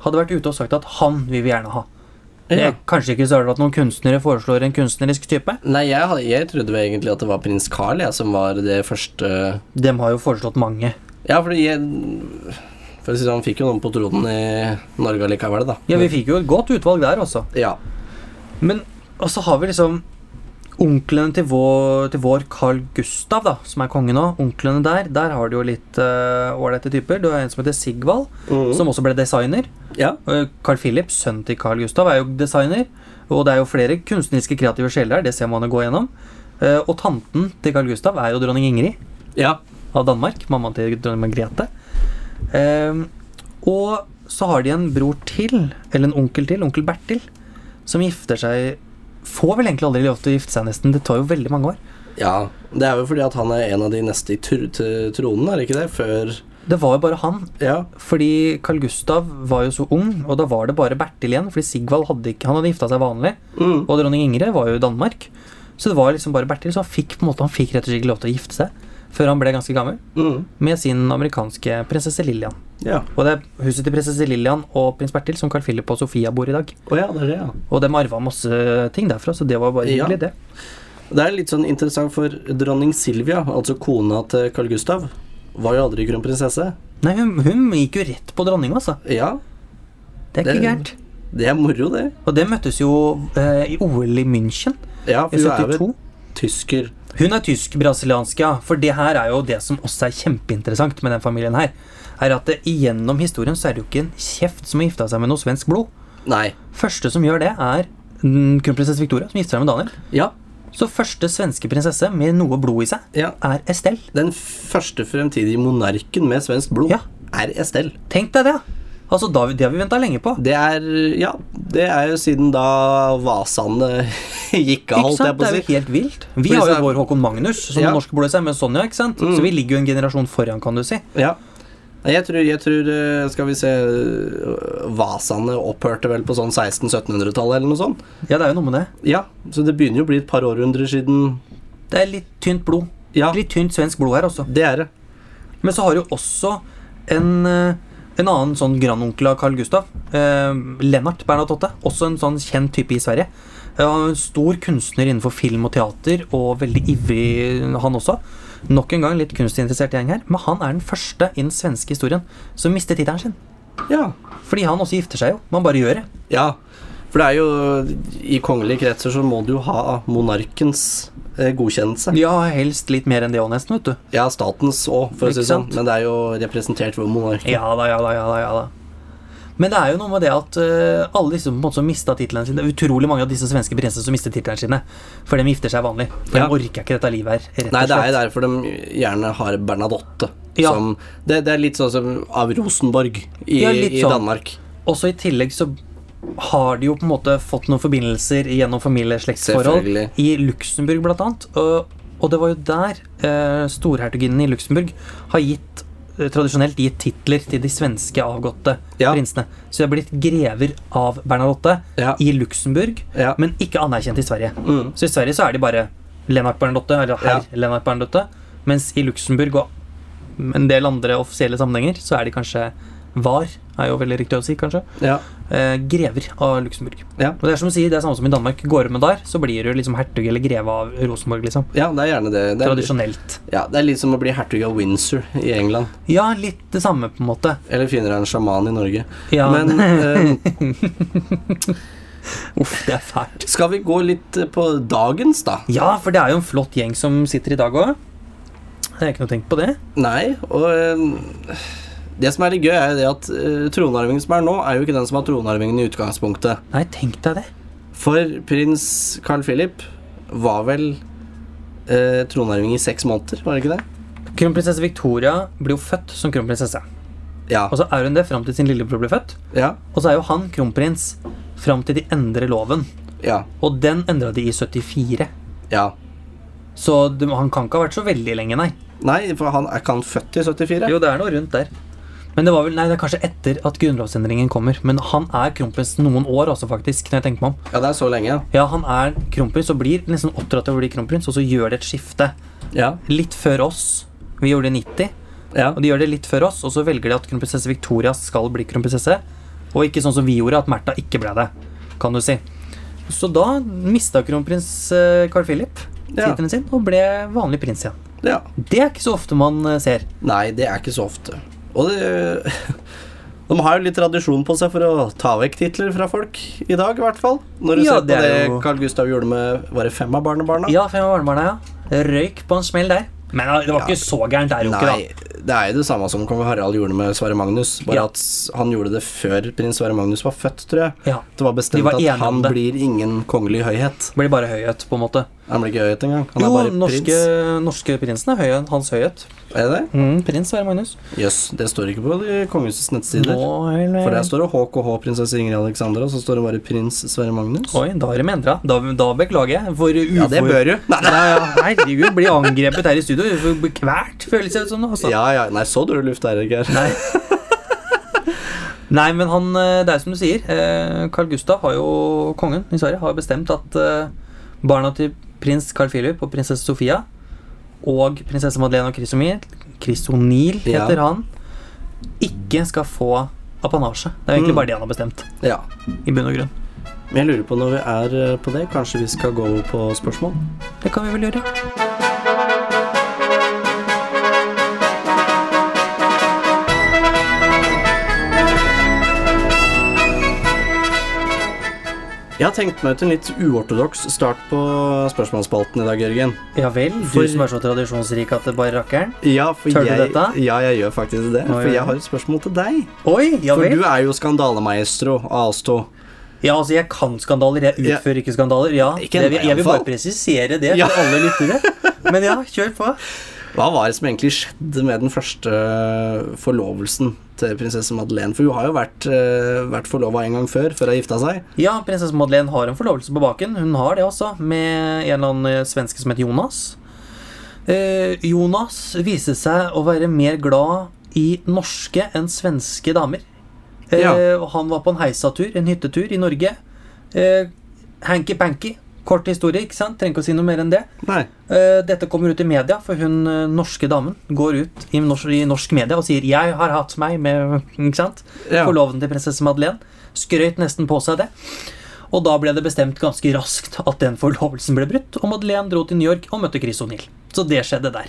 [SPEAKER 2] hadde vært ute og sagt at han vil vi gjerne ha. Det
[SPEAKER 1] Ja.
[SPEAKER 2] er kanskje ikke så rart at noen kunstnere foreslår en kunstnerisk type.
[SPEAKER 1] Nei, jeg, hadde- jeg trodde vel egentlig at det var prins Carl jeg, som var det første
[SPEAKER 2] Dem har jo foreslått mange.
[SPEAKER 1] Ja, fordi jeg, For å si det sånn, han fikk jo noen på tronen i Norge allikevel, da.
[SPEAKER 2] Ja, vi fikk jo et godt utvalg der, altså.
[SPEAKER 1] Ja.
[SPEAKER 2] Men og så har vi liksom onklene til vår, til vår Carl Gustav, da, som er konge nå. Onklene der, der har du jo litt eh, ålreite typer. Du har en som heter Sigvald,
[SPEAKER 1] Mm.
[SPEAKER 2] som også ble designer.
[SPEAKER 1] Ja.
[SPEAKER 2] Eh, Carl Philip, sønnen til Carl Gustav, er jo designer. Og det er jo flere kunstneriske kreative sjeler her, det ser man jo gå gjennom. Eh, og tanten til Carl Gustav er jo dronning Ingrid
[SPEAKER 1] Ja.
[SPEAKER 2] av Danmark. Mammaen til dronning Margrethe. Ehm, og så har de en bror til, eller en onkel til, onkel Bertil, som gifter seg Får vel egentlig aldri lov til å gifte seg, nesten. Det tar jo veldig mange år.
[SPEAKER 1] Ja, Det er vel fordi at han er en av de neste i tr til tronen, er det ikke det? Før
[SPEAKER 2] Det var jo bare han.
[SPEAKER 1] Ja.
[SPEAKER 2] Fordi Carl Gustav var jo så ung, og da var det bare Bertil igjen. Fordi Sigvald hadde ikke, han hadde gifta seg vanlig,
[SPEAKER 1] Mm.
[SPEAKER 2] og dronning Ingrid var jo i Danmark. Så det var liksom bare Bertil, så han fikk på en måte, han fikk rett og slett lov til å gifte seg før han ble ganske gammel,
[SPEAKER 1] Mm.
[SPEAKER 2] med sin amerikanske prinsesse Lillian.
[SPEAKER 1] Ja.
[SPEAKER 2] Og det er huset til prinsesse Lillian og prins Bertil som Carl Philip og Sofia bor i dag.
[SPEAKER 1] Å ja, det er det, ja.
[SPEAKER 2] Og de arva masse ting derfra, så det var bare
[SPEAKER 1] Ja.
[SPEAKER 2] hyggelig, det.
[SPEAKER 1] Det er litt sånn interessant, for dronning Silvia, altså kona til Carl Gustav, var jo aldri kronprinsesse.
[SPEAKER 2] Nei, hun, hun gikk jo rett på dronninga, altså.
[SPEAKER 1] Ja,
[SPEAKER 2] Det er ikke
[SPEAKER 1] Det-
[SPEAKER 2] gærent.
[SPEAKER 1] det er moro, det.
[SPEAKER 2] Og det møttes jo eh, i OL i München
[SPEAKER 1] Ja,
[SPEAKER 2] i
[SPEAKER 1] for hun er vel
[SPEAKER 2] 72.
[SPEAKER 1] tysker.
[SPEAKER 2] Hun er tysk-brasiliansk, ja. For det her er jo det som også er kjempeinteressant med den familien her. Er at det, Gjennom historien så er det jo ikke en kjeft som har gifta seg med noe svensk blod.
[SPEAKER 1] Nei.
[SPEAKER 2] Første som gjør det, er mm, kronprinsesse Victoria, som gifter seg med Daniel.
[SPEAKER 1] Ja.
[SPEAKER 2] Så første svenske prinsesse med noe blod i seg,
[SPEAKER 1] ja.
[SPEAKER 2] er Estelle.
[SPEAKER 1] Den første fremtidige monarken med svensk blod
[SPEAKER 2] Ja.
[SPEAKER 1] er Estelle.
[SPEAKER 2] Tenk deg det! Altså, da, Det har vi venta lenge på.
[SPEAKER 1] Det er Ja, det er jo siden da vasene gikk av,
[SPEAKER 2] Ikke
[SPEAKER 1] holdt jeg på
[SPEAKER 2] sant? Det
[SPEAKER 1] å
[SPEAKER 2] er
[SPEAKER 1] si.
[SPEAKER 2] jo helt vilt. Vi
[SPEAKER 1] Fordi
[SPEAKER 2] har
[SPEAKER 1] så
[SPEAKER 2] jo
[SPEAKER 1] er-
[SPEAKER 2] vår Håkon Magnus, som
[SPEAKER 1] Ja. Mm.
[SPEAKER 2] har norsk blod i seg, men Sonja, ikke sant? Så vi ligger jo en generasjon foran, kan du si.
[SPEAKER 1] Ja. Nei, Jeg tror, jeg tror eh, Skal vi se eh, Vasene opphørte vel på sånn 1600-1700-tallet eller noe sånt.
[SPEAKER 2] Ja, det er jo noe med det.
[SPEAKER 1] Ja, så det begynner jo å bli et par århundrer siden
[SPEAKER 2] Det er litt tynt blod.
[SPEAKER 1] Ja,
[SPEAKER 2] Litt tynt svensk blod her også.
[SPEAKER 1] det er det.
[SPEAKER 2] Men så har du også en, eh, en annen sånn grandonkel av Carl Gustav. Eh, Lennart Bernadotte. Også en sånn kjent type i Sverige. Eh, han er en stor kunstner innenfor film og teater, og veldig ivrig, eh, han også. Nok en gang litt kunstinteressert gjeng her, men han er den første i den svenske historien som mister tittelen sin.
[SPEAKER 1] Ja.
[SPEAKER 2] Fordi han også gifter seg jo. Man bare gjør det.
[SPEAKER 1] ja. For det er jo I kongelige kretser så må du jo ha monarkens eh, godkjennelse.
[SPEAKER 2] Ja, helst litt mer enn det òg, nesten, vet du.
[SPEAKER 1] Ja, statens òg, for å si
[SPEAKER 2] Ikke
[SPEAKER 1] det sånn.
[SPEAKER 2] sant?
[SPEAKER 1] Men det er jo representert ved monarken.
[SPEAKER 2] Ja da, ja da, ja da, ja da. Men det er jo noe med det at eh, alle disse som på en måte som mistet titlene sine det er Utrolig mange av disse svenske prinsene som mister titlene sine. For de gifter seg vanlig. For
[SPEAKER 1] Ja.
[SPEAKER 2] de orker ikke dette livet her. Rett og
[SPEAKER 1] Nei, det er
[SPEAKER 2] slett.
[SPEAKER 1] derfor de gjerne har Bernadotte.
[SPEAKER 2] Ja.
[SPEAKER 1] Som, det, det er litt sånn som av Rosenborg i,
[SPEAKER 2] Ja, litt
[SPEAKER 1] i
[SPEAKER 2] sånn.
[SPEAKER 1] Danmark.
[SPEAKER 2] Også i tillegg så har de jo på en måte fått noen forbindelser gjennom familieslektsforhold.
[SPEAKER 1] Selvfølgelig.
[SPEAKER 2] I Luxembourg, blant annet. Og, og det var jo der eh, storhertuginnen i Luxembourg har gitt eh, tradisjonelt gitt titler til de svenske avgåtte
[SPEAKER 1] Ja.
[SPEAKER 2] prinsene. Så de har blitt grever av Bernadotte
[SPEAKER 1] Ja.
[SPEAKER 2] i Luxembourg,
[SPEAKER 1] Ja.
[SPEAKER 2] men ikke anerkjent i Sverige.
[SPEAKER 1] Mm.
[SPEAKER 2] Så i Sverige så er de bare Lennart Bernadotte, eller herr Lennart Bernadotte. Mens i Luxembourg og en del andre offisielle sammenhenger, så er de kanskje var, er jo veldig riktig å si, kanskje,
[SPEAKER 1] Ja.
[SPEAKER 2] eh, grever av Luxembourg.
[SPEAKER 1] Ja.
[SPEAKER 2] Og det er som du sier, det er samme som i Danmark. Går du med der, så blir du liksom hertug eller greve av Rosenborg, liksom.
[SPEAKER 1] ja, det er gjerne det. Det er,
[SPEAKER 2] Tradisjonelt.
[SPEAKER 1] ja, det er litt som å bli hertug av Windsor i England.
[SPEAKER 2] Ja, litt det samme, på en måte.
[SPEAKER 1] Eller finner deg en sjaman i Norge.
[SPEAKER 2] Ja,
[SPEAKER 1] Men eh,
[SPEAKER 2] uff, det er fælt.
[SPEAKER 1] skal vi gå litt eh, på dagens, da?
[SPEAKER 2] Ja, for det er jo en flott gjeng som sitter i dag òg. Det er ikke noe tenkt på det.
[SPEAKER 1] Nei, og eh, det som er litt gøy, er jo det at eh, tronarvingen som er nå, er jo ikke den som har tronarvingen i utgangspunktet.
[SPEAKER 2] Nei, tenk deg det.
[SPEAKER 1] For prins Carl Philip var vel eh, tronarving i seks måneder, var det ikke det?
[SPEAKER 2] Kronprinsesse Victoria blir jo født som kronprinsesse.
[SPEAKER 1] Ja.
[SPEAKER 2] Og så er hun det fram til sin lillebror blir født.
[SPEAKER 1] Ja.
[SPEAKER 2] Og så er jo han kronprins fram til de endrer loven.
[SPEAKER 1] Ja.
[SPEAKER 2] Og den endra de i 74.
[SPEAKER 1] ja.
[SPEAKER 2] Så de, han kan ikke ha vært så veldig lenge, nei.
[SPEAKER 1] Nei, for han er ikke han født i 74?
[SPEAKER 2] Jo, det er noe rundt der. Men det var vel, nei, det er kanskje etter at grunnlovsendringen kommer. Men han er kronprins noen år også, faktisk. når jeg tenker meg om.
[SPEAKER 1] Ja, det er så lenge.
[SPEAKER 2] Ja, han er kronprins og blir nesten oppdratt til å bli kronprins, og så gjør det et skifte.
[SPEAKER 1] Ja.
[SPEAKER 2] Litt før oss. Vi gjorde det i 90.
[SPEAKER 1] Ja.
[SPEAKER 2] Og de gjør det litt før oss, og så velger de at kronprinsesse Victoria skal bli kronprinsesse. Og ikke sånn som vi gjorde, at Märtha ikke ble det, kan du si. Så da mista kronprins eh, Carl Philip
[SPEAKER 1] Ja.
[SPEAKER 2] tittelen sin og ble vanlig prins igjen.
[SPEAKER 1] ja.
[SPEAKER 2] Det er ikke så ofte man eh, ser.
[SPEAKER 1] Nei, det er ikke så ofte. Og det De har jo litt tradisjon på seg for å ta vekk titler fra folk i dag, i hvert fall. Når du
[SPEAKER 2] Ja,
[SPEAKER 1] ser på
[SPEAKER 2] det
[SPEAKER 1] det,
[SPEAKER 2] er jo-
[SPEAKER 1] Carl Gustav gjorde med Var det fem av barnebarna?
[SPEAKER 2] Ja, fem av barnebarna, ja. Røyk på en smell der. Men eh, det var
[SPEAKER 1] Ja.
[SPEAKER 2] ikke så gærent der, jo
[SPEAKER 1] Nei,
[SPEAKER 2] ikke, da.
[SPEAKER 1] det er jo det samme som kong Harald gjorde med Sverre Magnus. Bare
[SPEAKER 2] Ja.
[SPEAKER 1] at han gjorde det før prins Sverre Magnus var født, tror jeg.
[SPEAKER 2] Ja.
[SPEAKER 1] Det var
[SPEAKER 2] De
[SPEAKER 1] bestemt
[SPEAKER 2] var enige
[SPEAKER 1] at han
[SPEAKER 2] om det.
[SPEAKER 1] blir ingen kongelig høyhet.
[SPEAKER 2] Blir bare høyhet, på en måte.
[SPEAKER 1] Han blir ikke høyhet engang. Han
[SPEAKER 2] jo,
[SPEAKER 1] er bare
[SPEAKER 2] norske,
[SPEAKER 1] prins.
[SPEAKER 2] norske prinsen er høy, hans høyhet.
[SPEAKER 1] Er det det?
[SPEAKER 2] Mm, prins Sverre Magnus.
[SPEAKER 1] Jøss, det står ikke på de kongehusets nettsider.
[SPEAKER 2] Nå er det-
[SPEAKER 1] For der står det HKH prinsesse Ingrid Alexandra, og så står det bare prins Sverre Magnus.
[SPEAKER 2] Oi, da har de endra. Da, da beklager jeg. For ufor...
[SPEAKER 1] Ja, det bør du. Nei,
[SPEAKER 2] Nei, ja, herregud, bli angrepet her i studio. Vi får bli Kvalt, føles det som. Altså.
[SPEAKER 1] ja, ja, nei, så dør luft er det ikke her.
[SPEAKER 2] Nei. Nei, men han eh, Det er som du sier. eh, Carl Gustav, har jo kongen i Sverige, har bestemt at eh, barna til prins Carl Philip og prinsesse Sofia og prinsesse Madeleine og Chrysomir Chrysonil
[SPEAKER 1] Ja.
[SPEAKER 2] heter han ikke skal få apanasje. Det er jo
[SPEAKER 1] Mm.
[SPEAKER 2] egentlig bare det han har bestemt.
[SPEAKER 1] Ja.
[SPEAKER 2] I bunn og grunn.
[SPEAKER 1] Men jeg lurer på når vi er eh, på det, kanskje vi skal gå over på spørsmål?
[SPEAKER 2] Det kan vi vel gjøre.
[SPEAKER 1] Jeg har tenkt meg ut en litt uortodoks start på spørsmålsspalten i dag, Jørgen.
[SPEAKER 2] Ja vel, du
[SPEAKER 1] For-
[SPEAKER 2] som er så tradisjonsrik at det bare rakkeren.
[SPEAKER 1] Ja, for
[SPEAKER 2] Tør du
[SPEAKER 1] jeg,
[SPEAKER 2] dette?
[SPEAKER 1] Ja, jeg gjør faktisk det.
[SPEAKER 2] Oi,
[SPEAKER 1] For
[SPEAKER 2] oi,
[SPEAKER 1] jeg
[SPEAKER 2] oi.
[SPEAKER 1] har et spørsmål til deg.
[SPEAKER 2] Oi, ja
[SPEAKER 1] For
[SPEAKER 2] vel.
[SPEAKER 1] du er jo skandalemaestro av oss to.
[SPEAKER 2] Ja, altså, jeg kan skandaler, jeg
[SPEAKER 1] Ja.
[SPEAKER 2] utfører ikke skandaler. Ja,
[SPEAKER 1] Ikke
[SPEAKER 2] det,
[SPEAKER 1] ennå,
[SPEAKER 2] jeg vil
[SPEAKER 1] iallfall.
[SPEAKER 2] bare presisere det
[SPEAKER 1] Ja.
[SPEAKER 2] for alle lyttere. Men ja, kjør på.
[SPEAKER 1] Hva var det som egentlig skjedde med den første eh, forlovelsen til prinsesse Madeleine? For hun har jo vært, eh, vært forlova en gang før, før hun gifta seg.
[SPEAKER 2] Ja, prinsesse Madeleine har en forlovelse på baken. Hun har det også, med en eller annen eh, svenske som heter Jonas. Eh, Jonas viste seg å være mer glad i norske enn svenske damer. Eh,
[SPEAKER 1] Ja.
[SPEAKER 2] og Han var på en heisatur, en hyttetur i Norge. Eh, Hanky-panky. Kort historie, ikke sant? Trenger ikke å si noe mer enn det.
[SPEAKER 1] Nei.
[SPEAKER 2] Eh, Dette kommer ut i media, for hun eh, norske damen går ut i norsk, i norsk media og sier 'jeg har hatt meg med ikke sant?
[SPEAKER 1] Ja.
[SPEAKER 2] forloven til prinsesse Madeleine'. Skrøt nesten på seg det. Og da ble det bestemt ganske raskt at den forlovelsen ble brutt, og Madeleine dro til New York og møtte Chris O'Neill. Så det skjedde der.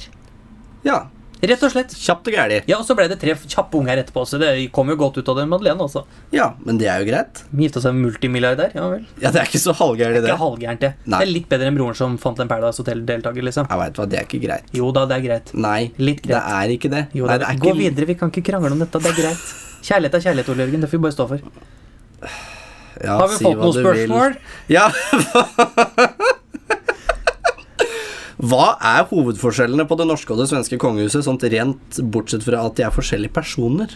[SPEAKER 1] Ja.
[SPEAKER 2] Rett og slett.
[SPEAKER 1] Kjapt og gæli.
[SPEAKER 2] Ja, Og så ble det tre kjappe unger etterpå, så det kom jo godt ut av det. Madeleine også.
[SPEAKER 1] Ja, men det er jo greit.
[SPEAKER 2] Gifta seg med multimilliardær. Ja vel.
[SPEAKER 1] Ja, det er ikke så halvgæli, det.
[SPEAKER 2] Ikke halvgærent, det.
[SPEAKER 1] Nei.
[SPEAKER 2] Det er litt bedre enn broren som fant en Paradise Hotel-deltaker, liksom.
[SPEAKER 1] Jeg veit hva, det er ikke greit.
[SPEAKER 2] Jo da, det er greit.
[SPEAKER 1] Nei,
[SPEAKER 2] Litt
[SPEAKER 1] det
[SPEAKER 2] greit.
[SPEAKER 1] er ikke det.
[SPEAKER 2] Jo,
[SPEAKER 1] Nei,
[SPEAKER 2] det
[SPEAKER 1] det er
[SPEAKER 2] Gå
[SPEAKER 1] ikke
[SPEAKER 2] videre, vi kan ikke krangle om dette. Det er greit. Kjærlighet er kjærlighet, Ole Jørgen. Det får vi bare stå for.
[SPEAKER 1] Ja,
[SPEAKER 2] Har vi
[SPEAKER 1] si
[SPEAKER 2] fått
[SPEAKER 1] hva
[SPEAKER 2] noen
[SPEAKER 1] du vil.
[SPEAKER 2] spørsmål?
[SPEAKER 1] Ja. Hva er hovedforskjellene på det norske og det svenske kongehuset, sånt rent bortsett fra at de er forskjellige personer?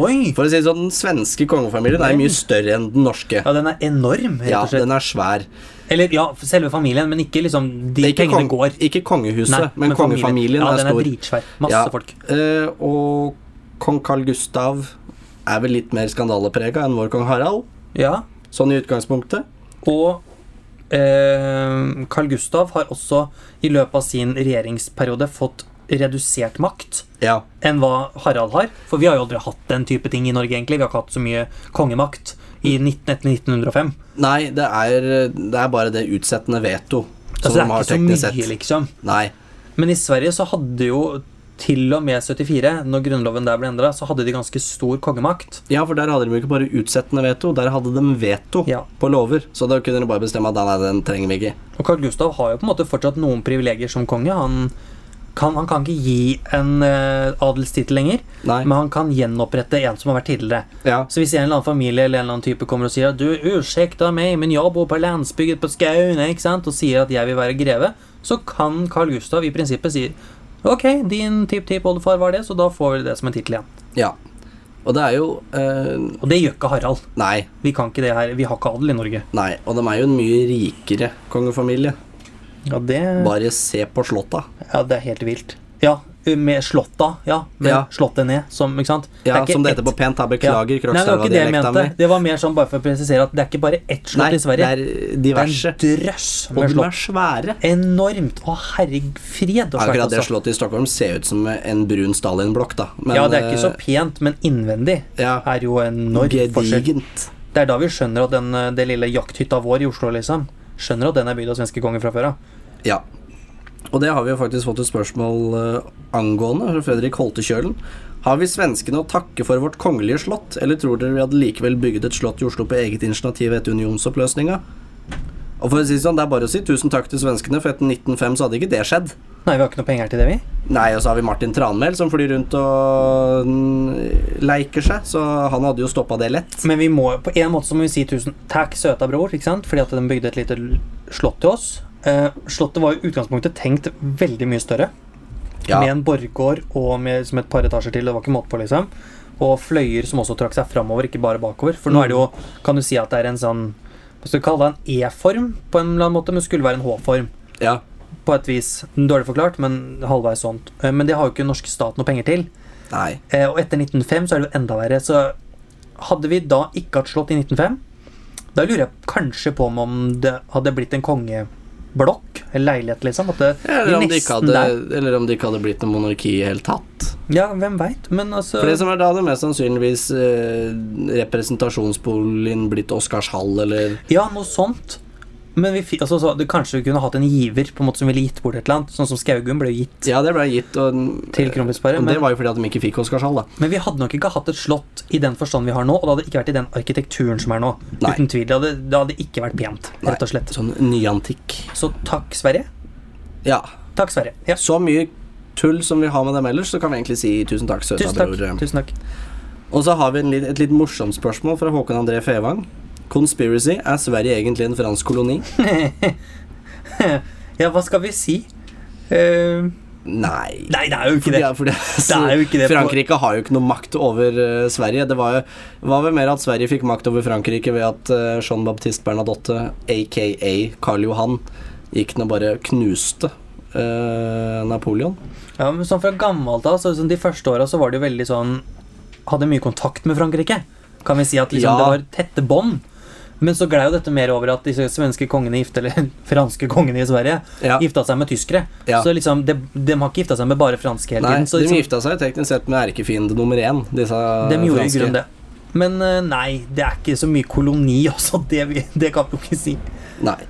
[SPEAKER 2] Oi!
[SPEAKER 1] For å si det sånn, Den svenske kongefamilien er mye større enn den norske.
[SPEAKER 2] Ja, den er enorm, rett
[SPEAKER 1] Ja,
[SPEAKER 2] og slett.
[SPEAKER 1] den er svær.
[SPEAKER 2] Eller ja, selve familien, men ikke liksom de
[SPEAKER 1] Det er ikke,
[SPEAKER 2] pengene
[SPEAKER 1] kong-
[SPEAKER 2] går.
[SPEAKER 1] ikke kongehuset,
[SPEAKER 2] Nei,
[SPEAKER 1] men, kongefamilien
[SPEAKER 2] ja,
[SPEAKER 1] er
[SPEAKER 2] den er
[SPEAKER 1] stor.
[SPEAKER 2] dritsvær. Masse
[SPEAKER 1] Ja.
[SPEAKER 2] folk.
[SPEAKER 1] Eh, og kong Carl Gustav er vel litt mer skandaleprega enn vår kong Harald,
[SPEAKER 2] Ja.
[SPEAKER 1] sånn i utgangspunktet.
[SPEAKER 2] Og eh, Carl Gustav har også i løpet av sin regjeringsperiode fått redusert makt
[SPEAKER 1] Ja,
[SPEAKER 2] enn hva Harald har. For vi har jo aldri hatt den type ting i Norge, egentlig. Vi har ikke hatt så mye kongemakt i 19, etter 1905.
[SPEAKER 1] Nei, det er, det er bare det utsettende veto som
[SPEAKER 2] Altså, det
[SPEAKER 1] de har
[SPEAKER 2] er ikke
[SPEAKER 1] teknisk
[SPEAKER 2] så mye,
[SPEAKER 1] sett.
[SPEAKER 2] liksom.
[SPEAKER 1] Nei.
[SPEAKER 2] Men i Sverige så hadde jo til og med 74, når grunnloven der ble endra, så hadde de ganske stor kongemakt.
[SPEAKER 1] Ja, for der hadde de jo ikke bare utsettende veto, der hadde de veto
[SPEAKER 2] Ja.
[SPEAKER 1] på lover. Så da kunne de bare bestemme at nei, nei, den trenger vi ikke.
[SPEAKER 2] Og Carl Gustav har jo på en måte fortsatt noen privilegier som konge. Han kan, han kan ikke gi en eh, adelstittel lenger,
[SPEAKER 1] Nei.
[SPEAKER 2] men han kan gjenopprette en som har vært tidligere.
[SPEAKER 1] Ja.
[SPEAKER 2] Så hvis en eller annen familie eller en eller annen type kommer og sier at du, ursäkta meg, men jeg bor på landsbygget på Skaune, ikke sant, og sier at jeg vil være greve, så kan Carl Gustav i prinsippet si ok, din tipptippoldefar var det, så da får vi det som en tittel igjen.
[SPEAKER 1] ja. Og det er jo eh,
[SPEAKER 2] Og det gjør ikke Harald.
[SPEAKER 1] Nei.
[SPEAKER 2] Vi kan ikke det her, vi har ikke adel i Norge.
[SPEAKER 1] Nei. Og de er jo en mye rikere kongefamilie.
[SPEAKER 2] Ja, det,
[SPEAKER 1] Bare se på slottet.
[SPEAKER 2] ja, det er helt vilt. Ja, med slotta, ja. Med
[SPEAKER 1] Ja,
[SPEAKER 2] slottet ned, som, ikke sant?
[SPEAKER 1] ja
[SPEAKER 2] er ikke
[SPEAKER 1] som det heter
[SPEAKER 2] ett-
[SPEAKER 1] på pent. Da
[SPEAKER 2] ja.
[SPEAKER 1] beklager
[SPEAKER 2] Nei, det var ikke det jeg
[SPEAKER 1] Krokstadva-dialekta
[SPEAKER 2] mente. Det var mer sånn bare for å presisere at det er ikke bare ett slott
[SPEAKER 1] Nei,
[SPEAKER 2] i Sverige.
[SPEAKER 1] det er diverse.
[SPEAKER 2] Det er en drøss
[SPEAKER 1] Og
[SPEAKER 2] med
[SPEAKER 1] de er
[SPEAKER 2] slott.
[SPEAKER 1] svære.
[SPEAKER 2] Enormt. Å, herregud, fred og svært,
[SPEAKER 1] Akkurat det
[SPEAKER 2] altså.
[SPEAKER 1] slottet i Stockholm ser ut som en brun Stalin-blokk, da. Men,
[SPEAKER 2] Ja, det er ikke så
[SPEAKER 1] eh,
[SPEAKER 2] pent, men innvendig
[SPEAKER 1] Ja.
[SPEAKER 2] er jo enorm forskjell.
[SPEAKER 1] Gedigent.
[SPEAKER 2] Det er da vi skjønner at den, eh, det lille jakthytta vår i Oslo, liksom, skjønner at den er bygd av svenske konger fra før av.
[SPEAKER 1] Ja. Og det har vi jo faktisk fått et spørsmål eh, angående fra Fredrik Holtekjølen. Har vi svenskene å takke for vårt kongelige slott, eller tror dere vi hadde likevel bygget et slott i Oslo på eget initiativ etter unionsoppløsninga? Og for å si det sånn, det er bare å si tusen takk til svenskene, for etter 1905 så hadde ikke det skjedd.
[SPEAKER 2] Nei, vi har ikke noe penger til det, vi.
[SPEAKER 1] Nei, og så har vi Martin Tranmæl som flyr rundt og mm, leiker seg, så han hadde jo stoppa det lett.
[SPEAKER 2] Men vi må, på en måte så må vi si tusen takk, søta bror, ikke sant? fordi at de bygde et lite l- slott til oss. Eh, slottet var i utgangspunktet tenkt veldig mye større.
[SPEAKER 1] Ja.
[SPEAKER 2] med en borggård og med liksom et par etasjer til. Det var ikke måte på, liksom. Og fløyer som også trakk seg framover, ikke bare bakover. For nå er det jo, kan du si at det er en sånn Hva skal du kalle det? En E-form, på en eller annen måte, men det skulle være en H-form.
[SPEAKER 1] Ja.
[SPEAKER 2] På et vis. Dårlig forklart, men halvveis sånt. Eh, Men det har jo ikke norske stat noe penger til.
[SPEAKER 1] Nei.
[SPEAKER 2] Eh, Og etter 1905 så er det jo enda verre. Så hadde vi da ikke hatt slott i 1905, da lurer jeg kanskje på om det hadde blitt en kongeblokk eller leilighet, liksom. At det,
[SPEAKER 1] Eller om, de ikke
[SPEAKER 2] nesten
[SPEAKER 1] hadde,
[SPEAKER 2] der.
[SPEAKER 1] eller om det ikke hadde blitt noe monarki i hele tatt.
[SPEAKER 2] Ja, hvem veit, men altså
[SPEAKER 1] For det som er da det mest sannsynligvis eh, representasjonsboligen blitt Oscarshall eller
[SPEAKER 2] Ja, noe sånt. Men vi, fi- altså, så, det, kanskje vi kunne hatt en giver på en måte som ville gitt bort et eller annet. Sånn som Skaugum ble jo gitt
[SPEAKER 1] Ja, det ble gitt, og,
[SPEAKER 2] til kronprinsparet.
[SPEAKER 1] og Eh, det
[SPEAKER 2] Men,
[SPEAKER 1] var jo fordi at de ikke fikk Oscarshall, da.
[SPEAKER 2] men vi hadde nok ikke hatt et slott i den forstand vi har nå, og det hadde ikke vært i den arkitekturen som er nå.
[SPEAKER 1] Nei.
[SPEAKER 2] Uten tvil. Det hadde, det hadde ikke vært pent,
[SPEAKER 1] Nei.
[SPEAKER 2] rett og slett.
[SPEAKER 1] Sånn nyantikk.
[SPEAKER 2] Så takk, Sverige.
[SPEAKER 1] Ja.
[SPEAKER 2] Takk, Sverige. Ja.
[SPEAKER 1] Så mye tull som vi har med dem ellers, så kan vi egentlig si tusen takk, søta
[SPEAKER 2] Tusen takk.
[SPEAKER 1] bror.
[SPEAKER 2] Tusen takk.
[SPEAKER 1] Og så har vi en litt, et litt morsomt spørsmål fra Håkon André Fevang. Conspiracy, er Sverige egentlig en fransk koloni?
[SPEAKER 2] Ja, hva skal vi si? Eh,
[SPEAKER 1] Nei.
[SPEAKER 2] nei, det er jo ikke
[SPEAKER 1] Fordi,
[SPEAKER 2] det.
[SPEAKER 1] fordi,
[SPEAKER 2] er jo ikke det på-
[SPEAKER 1] Frankrike har jo ikke noe makt over eh, Sverige. Det var, jo, var vel mer at Sverige fikk makt over Frankrike ved at eh, Jean Baptiste Bernadotte, aka Karl Johan, gikk nå bare knuste eh, Napoleon.
[SPEAKER 2] Ja, men sånn fra gammelt av, så, sånn, de første åra så var det jo veldig sånn Hadde mye kontakt med Frankrike. Kan vi si at liksom,
[SPEAKER 1] Ja.
[SPEAKER 2] det var tette bånd. Men så glei jo dette mer over at disse svenske kongene gifte, eller franske kongene i Sverige
[SPEAKER 1] Ja.
[SPEAKER 2] gifta seg med tyskere.
[SPEAKER 1] Ja.
[SPEAKER 2] Så liksom, de, de har ikke gifta seg med bare franske hele
[SPEAKER 1] Nei,
[SPEAKER 2] tiden. Så
[SPEAKER 1] de
[SPEAKER 2] liksom,
[SPEAKER 1] gifta seg teknisk sett med erkefiende nummer én, disse
[SPEAKER 2] de gjorde i
[SPEAKER 1] franske.
[SPEAKER 2] grunnen det. Men eh, nei, det er ikke så mye koloni også. Det, vi- det kan vi jo ikke si.
[SPEAKER 1] Nei.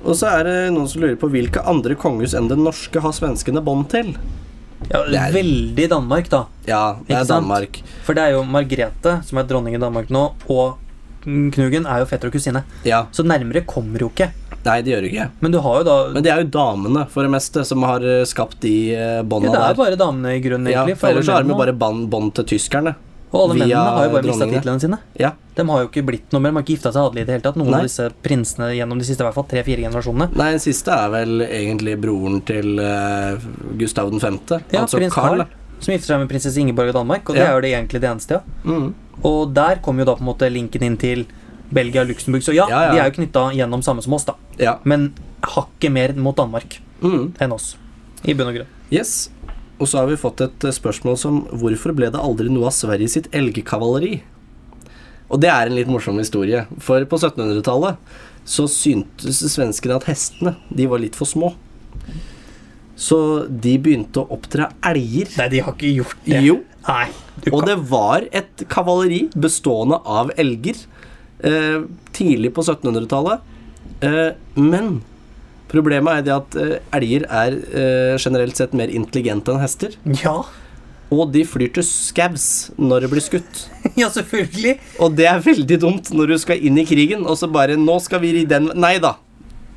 [SPEAKER 1] Og så er det noen som lurer på hvilke andre kongehus enn det norske har svenskene bånd til.
[SPEAKER 2] Ja,
[SPEAKER 1] Det er-
[SPEAKER 2] Veldig Danmark, da.
[SPEAKER 1] Ja, det
[SPEAKER 2] Ikke
[SPEAKER 1] er
[SPEAKER 2] sant?
[SPEAKER 1] Danmark.
[SPEAKER 2] For det er jo Margrethe, som er dronning i Danmark nå, og Knugen er jo fetter og kusine.
[SPEAKER 1] Ja,
[SPEAKER 2] Så nærmere kommer jo ikke.
[SPEAKER 1] Nei, det gjør det ikke.
[SPEAKER 2] Men du har jo da
[SPEAKER 1] Men det er jo damene for det meste som har eh, skapt de eh, bånda
[SPEAKER 2] ja, Det
[SPEAKER 1] der.
[SPEAKER 2] er bare damene i grunnen,
[SPEAKER 1] Ja,
[SPEAKER 2] egentlig.
[SPEAKER 1] for ellers så har de jo bare
[SPEAKER 2] mennene-
[SPEAKER 1] ban- bånd til tyskerne.
[SPEAKER 2] og alle mennene
[SPEAKER 1] via
[SPEAKER 2] har jo bare mista
[SPEAKER 1] dronningene.
[SPEAKER 2] titlene sine.
[SPEAKER 1] Ja,
[SPEAKER 2] De har jo ikke blitt noe mer. De har ikke gifta seg adelig i det hele tatt. Noen
[SPEAKER 1] Nei.
[SPEAKER 2] av disse prinsene gjennom de siste i hvert fall tre-fire generasjonene.
[SPEAKER 1] Nei, den siste er vel egentlig broren til eh, Gustav 5.,
[SPEAKER 2] Ja,
[SPEAKER 1] altså
[SPEAKER 2] prins
[SPEAKER 1] Carl.
[SPEAKER 2] Carl, som gifter seg med prinsesse Ingeborg i Danmark, og det
[SPEAKER 1] Ja.
[SPEAKER 2] er jo det egentlig det eneste. Ja.
[SPEAKER 1] Mm.
[SPEAKER 2] Og der kommer jo da på en måte linken inn til Belgia og Luxembourg. Så ja,
[SPEAKER 1] Ja, ja.
[SPEAKER 2] de er jo knytta gjennom samme som oss, da.
[SPEAKER 1] Ja.
[SPEAKER 2] Men hakket mer mot Danmark
[SPEAKER 1] Mm.
[SPEAKER 2] enn oss. I bunn og grunn.
[SPEAKER 1] Yes. Og så har vi fått et eh, spørsmål som Hvorfor ble det aldri noe av Sverige sitt elgkavaleri? Og det er en litt morsom historie. For på 1700-tallet så syntes svenskene at hestene de var litt for små. Så de begynte å oppdra elger.
[SPEAKER 2] Nei, de har ikke gjort det.
[SPEAKER 1] Jo,
[SPEAKER 2] Nei, du
[SPEAKER 1] og
[SPEAKER 2] kan.
[SPEAKER 1] det var et kavaleri bestående av elger eh, tidlig på 1700-tallet. Eh, men problemet er det at eh, elger er eh, generelt sett mer intelligente enn hester.
[SPEAKER 2] Ja.
[SPEAKER 1] Og de flyr til skaus når det blir skutt.
[SPEAKER 2] ja, selvfølgelig.
[SPEAKER 1] Og det er veldig dumt når du skal inn i krigen, og så bare 'Nå skal vi ri den Nei da.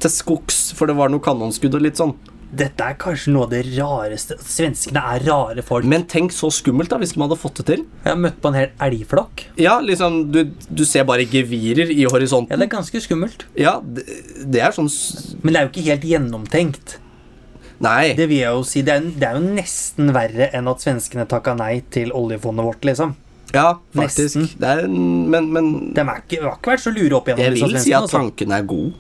[SPEAKER 1] Til skogs, for det var noe kanonskudd og litt sånn.
[SPEAKER 2] Dette er kanskje noe av det rareste Svenskene er rare folk.
[SPEAKER 1] Men tenk så skummelt, da, hvis de hadde fått det til.
[SPEAKER 2] Jeg har møtt på en hel elgflokk.
[SPEAKER 1] Ja, liksom Du, du ser bare gevirer i
[SPEAKER 2] Ja,
[SPEAKER 1] horisonten.
[SPEAKER 2] Det er ganske skummelt.
[SPEAKER 1] Ja, det, det er sånn s-
[SPEAKER 2] Men det er jo ikke helt gjennomtenkt.
[SPEAKER 1] Nei.
[SPEAKER 2] Det vil jeg jo si. Det er, det er jo nesten verre enn at svenskene takka nei til oljefondet vårt, liksom.
[SPEAKER 1] Ja, faktisk.
[SPEAKER 2] Nesten.
[SPEAKER 1] Det er en Men, men
[SPEAKER 2] De er ikke, har ikke vært så lure opp
[SPEAKER 1] jeg
[SPEAKER 2] igjennom
[SPEAKER 1] vil si at
[SPEAKER 2] altså.
[SPEAKER 1] tanken er god.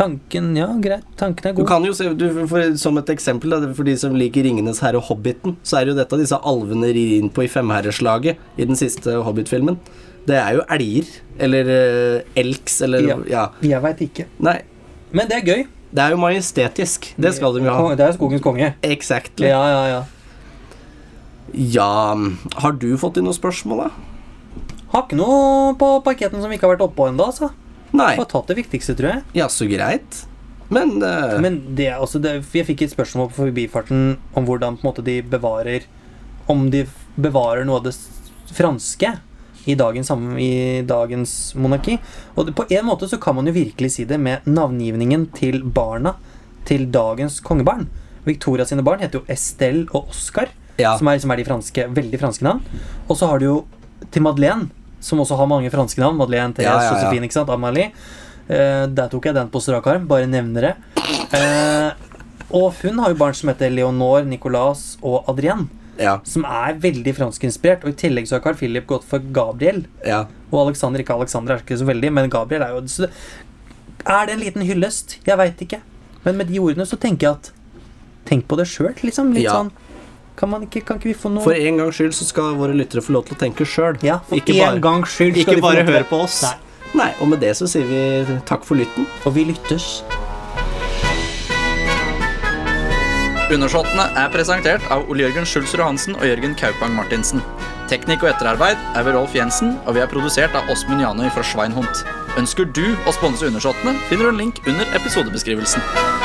[SPEAKER 2] Tanken, ja, greit. Tanken er
[SPEAKER 1] Du
[SPEAKER 2] god.
[SPEAKER 1] kan jo se, du, for, Som et eksempel, da, for de som liker 'Ringenes herre' og 'Hobbiten', så er det jo dette disse alvene rir inn på i femherreslaget i den siste Hobbit-filmen. Det er jo elger. Eller eh, elks, eller ja.
[SPEAKER 2] Ja. Jeg veit ikke.
[SPEAKER 1] Nei.
[SPEAKER 2] Men det er gøy.
[SPEAKER 1] Det er jo majestetisk. Det skal de jo ha.
[SPEAKER 2] Konge- Det er skogens konge.
[SPEAKER 1] Exactly. Ja.
[SPEAKER 2] Ja, ja, ja.
[SPEAKER 1] Har du fått inn noen spørsmål, da?
[SPEAKER 2] Har ikke noe på parketten som vi ikke har vært oppå ennå, altså.
[SPEAKER 1] Nei.
[SPEAKER 2] Bare tatt det viktigste, tror jeg.
[SPEAKER 1] Ja, så greit. Men, eh,
[SPEAKER 2] Men det er også det, Jeg fikk et spørsmål på forbifarten om hvordan på en måte de bevarer Om de f- bevarer noe av det s- franske i dagens, sam- i dagens monarki. Og det, på en måte så kan man jo virkelig si det med navngivningen til barna til dagens kongebarn. Victoria sine barn heter jo Estelle og Oscar,
[SPEAKER 1] Ja.
[SPEAKER 2] som, er, som er de franske, veldig franske navn. Og så har du jo til Madeleine, som også har mange franske navn. Madeleine, Therese,
[SPEAKER 1] Ja, ja, ja.
[SPEAKER 2] Josefine, ikke sant? Amalie. Eh, der tok jeg den på strak arm, bare nevner det. Eh, Og hun har jo barn som heter Leonor, Nicolas og Adrienne,
[SPEAKER 1] Ja,
[SPEAKER 2] som er veldig franskinspirert. Og i tillegg så har Carl Philip gått for Gabriel.
[SPEAKER 1] ja.
[SPEAKER 2] Og Alexander, ikke Alexander, er ikke så veldig, men Gabriel er jo så det- Er det en liten hyllest? Jeg veit ikke. Men med de ordene så tenker jeg at Tenk på det sjøl, liksom. Litt
[SPEAKER 1] Ja.
[SPEAKER 2] sånn kan, man ikke, kan ikke vi få noe
[SPEAKER 1] For en gangs skyld så skal våre lyttere få lov til å tenke sjøl.
[SPEAKER 2] Ja, for
[SPEAKER 1] ikke
[SPEAKER 2] en
[SPEAKER 1] bare,
[SPEAKER 2] gangs skyld skal
[SPEAKER 1] ikke
[SPEAKER 2] de få
[SPEAKER 1] bare
[SPEAKER 2] lov til
[SPEAKER 1] høre
[SPEAKER 2] det.
[SPEAKER 1] på oss.
[SPEAKER 2] Nei.
[SPEAKER 1] Nei, og med det så sier vi takk for lytten.
[SPEAKER 2] Og vi lyttes.
[SPEAKER 3] Undersåttene er presentert av Ole-Jørgen Schulzrud Hansen og Jørgen Kaupang Martinsen. Teknikk og etterarbeid er ved Rolf Jensen, og vi er produsert av Åsmund Janøy fra Schweinhund. Ønsker du å sponse Undersåttene, finner du en link under episodebeskrivelsen.